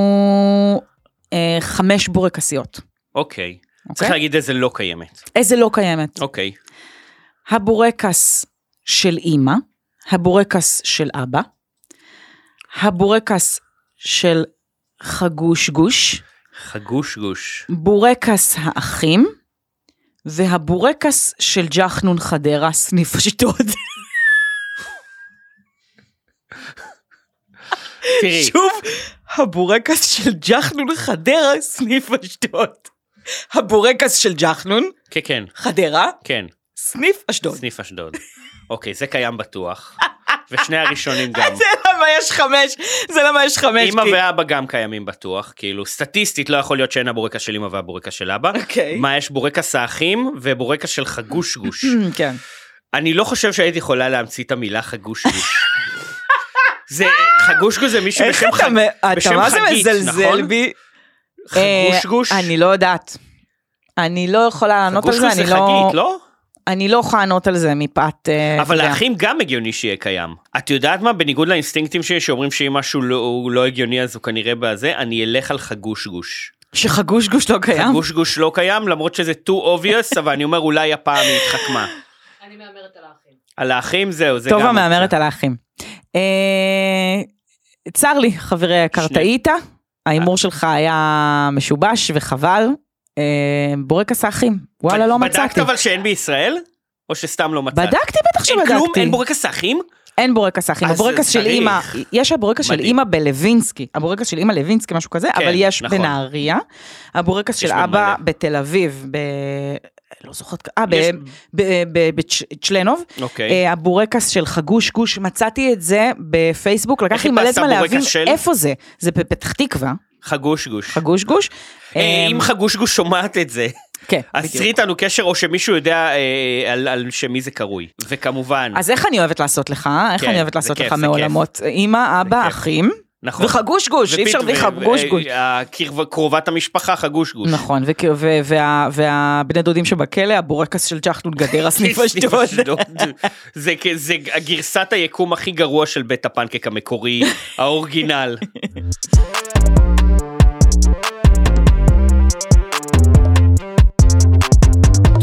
אה, חמש בורקסיות.
אוקיי. צריך
אוקיי?
להגיד איזה לא קיימת.
איזה לא קיימת?
אוקיי.
הבורקס של אימא, הבורקס של אבא, הבורקס של חגוש גוש,
חגוש גוש.
בורקס האחים, והבורקס של ג'חנון חדרה, סניף אשדוד.
תראי,
שוב, הבורקס של ג'חנון חדרה, סניף אשדוד. הבורקס של ג'חנון
כן, כן,
חדרה,
כן,
סניף אשדוד.
סניף אשדוד. אוקיי, זה קיים בטוח. ושני הראשונים גם.
זה למה יש חמש, זה למה יש חמש.
אמא
כי-
ואבא גם קיימים בטוח, כאילו סטטיסטית לא יכול להיות שאין הבורקס של אמא והבורקס של אבא.
אוקיי.
מה יש בורקס האחים ובורקס של חגוש גוש.
Mm, כן.
אני לא חושב שהייתי יכולה להמציא את המילה חגוש גוש. זה חגוש גוש זה מישהו
איך
בשם
אתה,
חג-
מ-
בשם
אתה מה זה
חגית,
מזלזל
נכון?
בי?
חגוש
אה,
גוש.
אני לא יודעת. אני לא יכולה לענות על
חגוש
זה,
גוש זה
אני לא...
חגית, לא?
אני לא יכולה לענות על זה מפאת... אה, אתה
אבל
יודע.
האחים גם הגיוני שיהיה קיים. את יודעת מה? בניגוד לאינסטינקטים שלי שאומרים שאם משהו לא- הוא לא הגיוני אז הוא כנראה בזה, אני אלך על חגוש גוש.
שחגוש גוש לא קיים?
חגוש גוש לא קיים למרות שזה too obvious אבל אני אומר אולי הפעם היא התחכמה.
אני מהמרת על האחים.
על האחים זהו זה גם.
טובה מהמרת על האחים. אה, צר לי, חברי היקר,
שני.
טעית. ההימור שלך היה משובש וחבל. אה, בורקס האחים, וואלה, לא
בדקת
מצאתי.
אבל שאין בישראל? או שסתם לא מצאת?
בדקתי, אה, בטח
אין כלום?
שבדקתי.
אין בורקס האחים?
אין בורקס אחים,
אז
הבורקס של
צריך.
אימא, יש הבורקס של
מדהים.
אימא בלווינסקי, הבורקס של אימא לווינסקי, משהו כזה,
כן,
אבל יש
נכון.
בנהריה, הבורקס
יש
של אבא
במלא.
בתל אביב, ב... לא זוכרת, אה, ב-
יש-
ב- ב- בצ'לנוב,
אוקיי.
אה, הבורקס של חגוש גוש, מצאתי את זה בפייסבוק, לקח
איך
לי מלא
חיפשת
זמן
הבורקס
להבין
של?
איפה זה, זה בפתח תקווה,
חגוש גוש.
חגוש גוש.
אה,
אמ,
אם חגוש גוש שומעת את זה,
כן,
אז
בדיוק.
צרי איתנו קשר או שמישהו יודע אה, על- על שמי זה קרוי. וכמובן,
אז איך אני אוהבת לעשות לך, אה? איך
כן,
אני אוהבת
זה
לעשות
כיף,
לך
זה כיף.
מעולמות, אימא, אבא,
כיף.
אחים,
נכון. אה,
וחגוש גוש, אי אפשר בלי חגוש גוש.
קרובת המשפחה חגוש גוש.
נכון, וכי- ו- וה- והבני דודים שבכלא, הבורקס של ג'חנון גדרה סניף אשדוד.
לא, זה כ- זה הגרסת היקום הכי גרוע של בית הפנקק המקורי, האורגינל.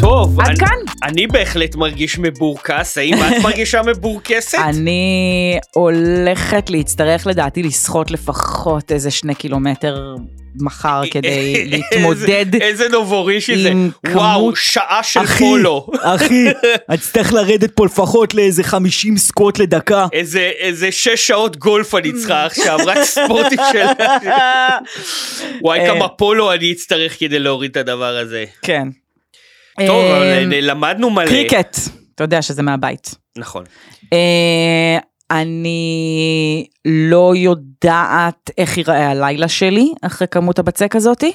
טוב,
עד
אני-
כאן?
אני בהחלט מרגיש מבורקס, האם את מרגישה מבורקסת?
אני הולכת להצטרך לדעתי לסחוט לפחות איזה שני קילומטר מחר
אה,
כדי להתמודד
איזה- איזה נובורישי זה,
עם
וואו,
כמות-
שעה של
אחי,
פולו.
אחי, אני אצטרך לרדת פה לפחות לאיזה 50 סקוט לדקה.
איזה, איזה שש שעות גולף אני צריכה עכשיו, רק ספורטים של... וואי,
אה.
כמה פולו אני אצטרך כדי להוריד את הדבר הזה.
כן.
טוב,
אה,
אבל למדנו מלא.
קריקט, אתה יודע שזה מהבית.
נכון.
אה, אני לא יודעת איך ייראה הלילה שלי אחרי כמות הבצק הזאתי.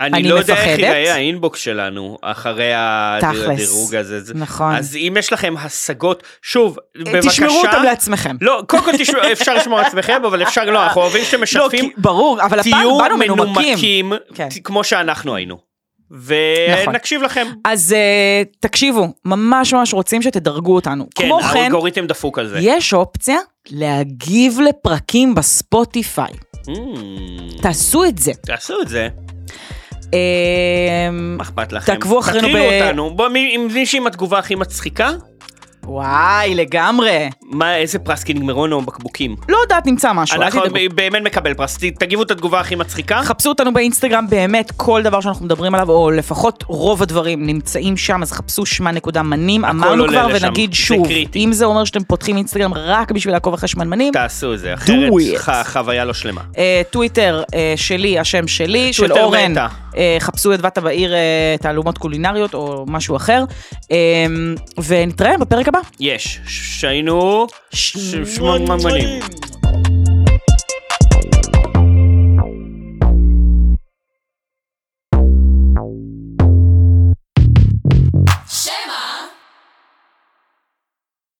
אני
אני
לא יודע איך
מפחדת.
ייראה האינבוקס שלנו אחרי ה-
תכלס.
הדירוג הזה. זה-
נכון. אה,
אז אם יש לכם השגות, שוב, בבקשה...
תשמרו אותם לעצמכם.
לא, קודם כל תשמעו, אפשר לשמור על עצמכם, אבל אפשר לא, אנחנו אוהבים שאתם
לא,
משתפים.
כי- ברור, אבל הפעם
תהיו
באנו מנומקים.
מנומקים,
כן.
ת- כמו שאנחנו היינו.
נכון.
ונקשיב לכם.
אז אה, תקשיבו, ממש ממש רוצים שתדרגו אותנו.
כן,
כמו כן,
האלגוריתם דפוק על זה.
יש אופציה להגיב לפרקים בספוטיפיי.
Mm,
תעשו את זה.
תעשו את זה,
אמ,
מה אכפת לכם?
תעקבו אחרינו
תטרילו
ב-
אותנו, בוא, מי עם מישהי עם התגובה הכי מצחיקה?
וואי, לגמרי.
מה, איזה פרס קינגמרון או בקבוקים?
לא יודעת, נמצא משהו. אל
אנחנו
תדאגו.
באמת מקבל פרס, ת- תגיבו את התגובה הכי מצחיקה.
חפשו אותנו באינסטגרם, באמת כל דבר שאנחנו מדברים עליו, או לפחות רוב הדברים נמצאים שם, אז חפשו שמה נקודה מנים, אמרנו
עולה
כבר
לשם,
ונגיד
זה
שוב,
קריטי.
אם זה אומר שאתם פותחים אינסטגרם רק בשביל לעקוב אחרי שמנמנים,
תעשו את זה, אחרת
it.
ח- חוויה לא שלמה.
אה, טוויטר אה, שלי, השם שלי, של
טוויטר
אורן,
מטא.
אה, חפשו את ואתה בעיר אה, תעלומות קולינריות או משהו אחר, אה, ונתראה בפרק הבא.
יש, שהיינו... ש- שמנמנים.